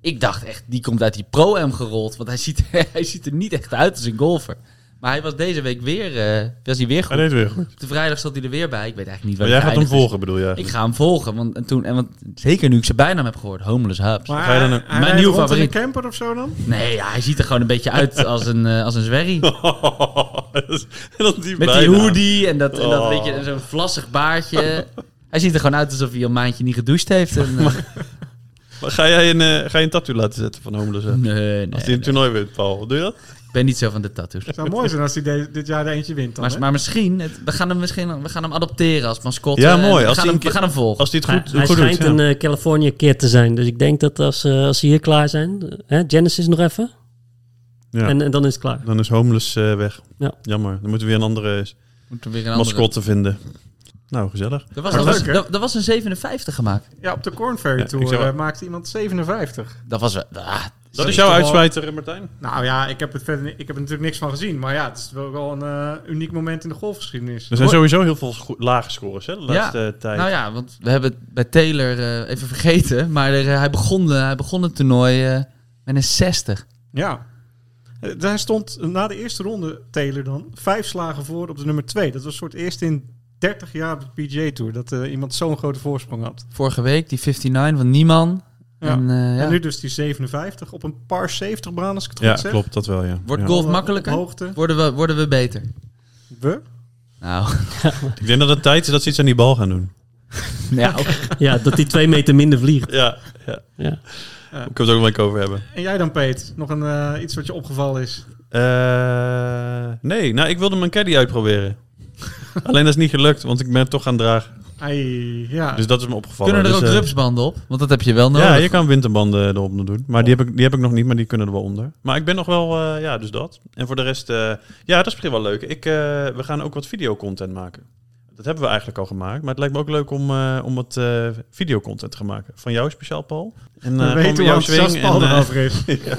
D: ik dacht echt, die komt uit die pro-am gerold. Want hij ziet, hij ziet er niet echt uit als een golfer. Maar hij was deze week weer, eh, was hij weer goed.
A: Hij deed weer goed.
D: Op de vrijdag zat hij er weer bij. Ik weet eigenlijk niet
A: Maar
D: waar
A: jij
D: hij
A: gaat hem
D: eindigt.
A: volgen bedoel je? dus-
D: Ik
A: eigenlijk?
D: ga hem volgen. Want, en toen, en want, zeker nu ik zijn bijnaam heb gehoord. Homeless Hubs.
E: Maar
A: Ga je dan
E: hij-
A: ook-
E: hij
D: Mijn
E: rijdt
D: nieuwe
E: rond in
D: favoriet.
E: een camper of zo dan?
D: Nee, ja, hij ziet er gewoon een beetje uit als een, eh, als een zwerrie.
A: dat is- dat is die
D: Met die
A: bijnaam.
D: hoodie en dat, en dat
A: Oh.
D: weet je, en zo'n vlassig baardje. Hij ziet er gewoon uit alsof hij al een maandje niet gedoucht heeft. En, eh,
A: Maar ga jij een, eh, ga je een tattoo laten zetten van homeless? hè?
D: nee, nee,
A: Als die een toernooi wint, Paul. Doe je dat?
D: Ik ben niet zo van de tattoos.
E: Het zou mooi zijn als hij de- dit jaar er eentje wint dan.
D: Maar,
E: hè?
D: maar misschien, het- we gaan hem misschien we gaan hem adopteren als mascotte.
A: Ja,
D: en
A: mooi.
D: Eh, We,
A: Als
D: gaan,
A: hij
D: hem,
A: een
D: we
A: keer-
D: gaan hem volgen.
A: Als die het
C: hij,
A: goed,
C: hij
A: goed
C: schijnt
A: doet.
C: een
A: ja.
C: eh, California kid te zijn. Dus ik denk dat als, eh, als ze hier klaar zijn, eh, hè, Genesis nog even,
A: Ja.
C: en, en dan is het klaar.
A: Dan is homeless eh, weg.
C: Ja.
A: Jammer. Dan moeten we weer een andere
D: Moeten we weer een andere-
A: mascotte vinden. Nou, gezellig.
D: Er was,
E: Maar
D: er,
E: leuk,
D: was,
E: hè?
D: er- er was een 57 gemaakt.
E: Ja, op de Corn Ferry
A: Ja, ik
E: Tour
A: zou-
E: eh, maakte iemand 57.
D: Dat was... wel- Ah,
A: Dat
E: is
A: is jouw
E: toch wel-
A: uitsmijter, Martijn.
E: Nou ja, ik heb, het verder, ni- ik heb er natuurlijk niks van gezien. Maar ja, het is wel wel een eh, uniek moment in de golfgeschiedenis.
A: Er zijn sowieso heel veel scho- lage scores hè, de
D: Ja.
A: laatste eh, tijd.
D: nou ja, want we hebben het bij Taylor eh, even vergeten. Maar er, eh, hij, begon, eh, hij begon het toernooi eh, met een 60.
E: Ja. Eh, Daar stond eh, na de eerste ronde, Taylor dan, vijf slagen voor op de nummer twee. Dat was voor het eerst in 30 jaar op de PGA Tour dat eh, iemand zo'n grote voorsprong had.
D: Vorige week die 59 van Nieman.
E: Ja.
D: En, eh, ja.
E: En nu dus die 57 op een par 70 baan, als ik het
A: Ja,
E: goed zeg.
A: klopt. Dat wel, ja.
D: Wordt
A: Ja.
D: golf
E: Op- op
D: makkelijker?
E: hoogte.
D: Worden we, worden we beter?
E: We?
D: Nou,
A: Ik denk dat het tijd is dat ze iets aan die bal gaan doen.
D: ja,
C: Ja, dat die twee meter minder vliegt.
A: Ja, ja.
C: Ja.
A: ik kan het ook nog even over hebben.
E: En jij dan, Peet? Nog een, eh, iets wat je opgevallen is?
A: Eh, nee, nou, ik wilde mijn caddy uitproberen. Alleen dat is niet gelukt, want ik ben het toch gaan dragen.
E: Ai, ja.
A: Dus dat is me opgevallen.
D: Kunnen er ook
A: Dus, eh,
D: rupsbanden op? Want dat heb je wel nodig.
A: Ja, je kan winterbanden eh, erop doen. Maar die heb, ik, die heb ik nog niet, maar die kunnen er wel onder. Maar ik ben nog wel, eh, ja, dus dat. En voor de rest, eh, ja, dat is misschien wel leuk. Ik, eh, we gaan ook wat videocontent maken. Dat hebben we eigenlijk al gemaakt. Maar het lijkt me ook leuk om, eh, om wat eh, videocontent te gaan maken. Van jou speciaal, Paul. En
E: We
A: eh,
E: weten
A: van
E: hoe enthousiast Paul
A: eh,
E: erover is.
A: ja.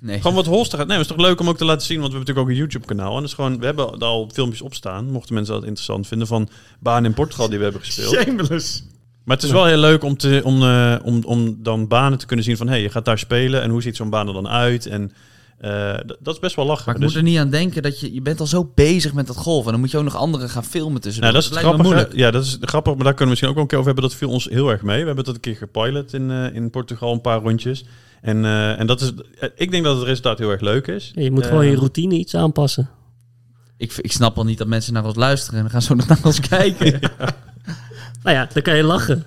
D: Nee.
A: Gewoon wat holster gaat. Nee, maar het is toch leuk om ook te laten zien, want we hebben natuurlijk ook een YouTube-kanaal. En dat is gewoon, we hebben daar al filmpjes op staan, mochten mensen dat interessant vinden, van banen in Portugal die we hebben gespeeld.
E: Shameless.
A: Maar het is wel heel leuk om, te, om, eh, om, om dan banen te kunnen zien van, hé, hey, je gaat daar spelen en hoe ziet zo'n baan er dan uit? En eh, d- dat is best wel lachen.
D: Maar ik
A: Dus-
D: moet er niet aan denken dat je... Je bent al zo bezig met dat golf. En dan moet je ook nog anderen gaan filmen tussen.
A: nou, dat is het
D: lijkt me
A: grappige.
D: moeilijk.
A: Ja, dat is grappig, maar daar kunnen we misschien ook wel een keer over hebben. Dat viel ons heel erg mee. We hebben dat een keer gepilot in, eh, in Portugal, een paar rondjes. En, eh, en dat is, eh, ik denk dat het resultaat heel erg leuk is.
C: Ja, je moet
A: Eh,
C: gewoon je routine iets aanpassen.
D: Ik, ik snap al niet dat mensen naar ons luisteren. En dan gaan ze ook nog naar ons kijken.
C: Nou ja, dan kan je lachen.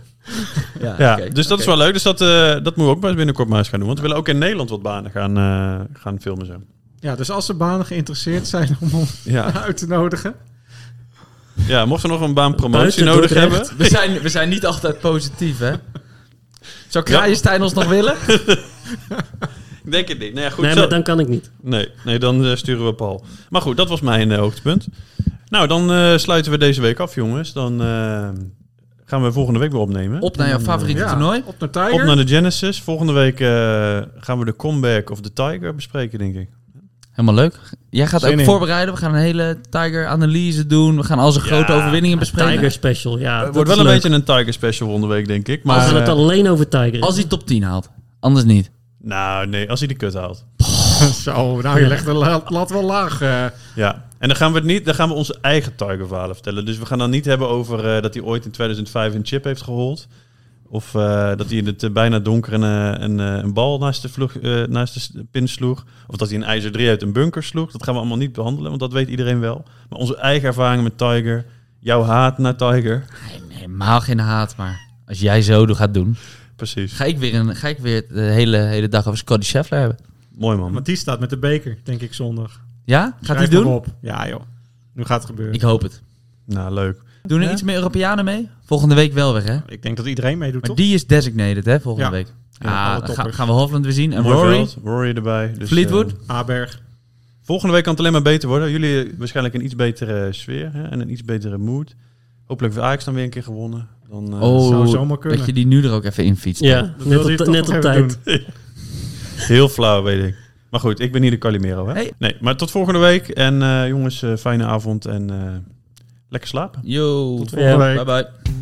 C: Ah,
A: Ja,
D: oké,
A: dus dat
D: oké.
A: is wel leuk. Dus dat, eh, dat moeten we ook maar binnenkort maar eens gaan doen. Want we willen ook in Nederland wat banen gaan, eh, gaan filmen zo.
E: Ja, dus als de banen geïnteresseerd zijn om ons
A: Ja.
E: uit te nodigen.
A: ja, mochten we nog een baanpromotie
C: Buiten
A: nodig
C: Dordrecht.
A: hebben...
D: We zijn, we zijn niet altijd positief, hè? Zou
A: Ja.
D: Kraaienstein ons nog willen?
A: Ik denk het niet. Nee, goed,
C: nee,
A: zo-
C: maar dan kan ik niet.
A: nee, nee, dan eh, sturen we Paul. Maar goed, dat was mijn eh, hoogtepunt. Nou, dan eh, sluiten we deze week af, jongens. Dan eh, gaan we volgende week weer opnemen.
D: Op naar jouw favoriete
E: Ja,
D: toernooi.
E: op naar
A: Op
E: Tiger.
A: naar de Genesis. Volgende week eh, gaan we de comeback of the Tiger bespreken, denk ik.
D: Helemaal leuk. Jij gaat
E: Zin
D: ook
E: in.
D: voorbereiden. We gaan een hele Tiger-analyse doen. We gaan al zijn
A: Ja,
D: grote overwinningen bespreken.
C: Tiger Special, ja.
A: Het
C: dat
A: Eh, wordt
C: is
A: wel een
C: leuk.
A: beetje een Tiger special volgende week, denk ik.
C: We
A: Maar,
C: gaan het
A: eh,
C: alleen over Tiger.
D: Als hij top 10 haalt. Anders niet.
A: Nou, nee, als hij de kut haalt.
E: Zo, nou je legt de la- lat wel laag. eh.
A: Ja, en dan gaan we, het niet, dan gaan we onze eigen Tiger-verhalen vertellen. Dus we gaan dan niet hebben over eh, dat hij ooit in 2005 een chip heeft gehold. Of eh, dat hij in het eh, bijna donker een, eh, een, eh, een bal naast de, vlug, eh, naast de s- pin sloeg. Of dat hij een ijzer 3 uit een bunker sloeg. Dat gaan we allemaal niet behandelen, want dat weet iedereen wel. Maar onze eigen ervaringen met Tiger. Jouw haat naar Tiger.
D: Nee, helemaal geen haat, maar als jij zo doet- gaat doen,
A: Precies.
D: ga ik weer, een, ga ik weer de hele, hele dag over Scotty Scheffler hebben.
A: Mooi man.
E: Want die staat met de beker, denk ik, zondag.
D: Ja? Gaat hij
E: Schrijf
D: doen?
E: maar Op. Ja joh, nu gaat het gebeuren.
D: Ik
E: Ik,
D: hoop het.
A: Nou, leuk.
D: Doen er
E: Ja?
D: iets meer Europeanen mee? Volgende week wel weer, hè?
E: denk dat iedereen meedoet,
D: Maar
E: toch?
D: die is designated, hè, volgende
E: Ja.
D: week.
E: alle
D: Ah, dan
E: toppers.
D: gaan, gaan we Hofland weer zien. En
A: Mooi
D: Rory,
A: veld, Rory erbij. Dus,
D: Fleetwood.
A: eh,
E: Aberg.
A: Volgende week kan het alleen maar beter worden. Jullie eh, waarschijnlijk een iets betere sfeer hè? en een iets betere mood. Hopelijk heeft Ajax dan weer een keer gewonnen. Dan, eh,
D: oh,
E: zou zomaar kunnen.
D: dat je die nu er ook even in fietst.
C: ja,
E: Dat wilde je
C: net op,
E: toch
C: net
E: nog
C: op
E: even
C: tijd.
E: doen.
A: Heel flauw, weet ik. Maar goed, ik ben hier de Calimero. Hè?
D: Hey.
A: Nee, maar tot volgende week. En eh, jongens, eh, fijne avond en eh, lekker slapen.
D: Yo,
E: Volgende
C: Ja.
E: week.
D: bye bye.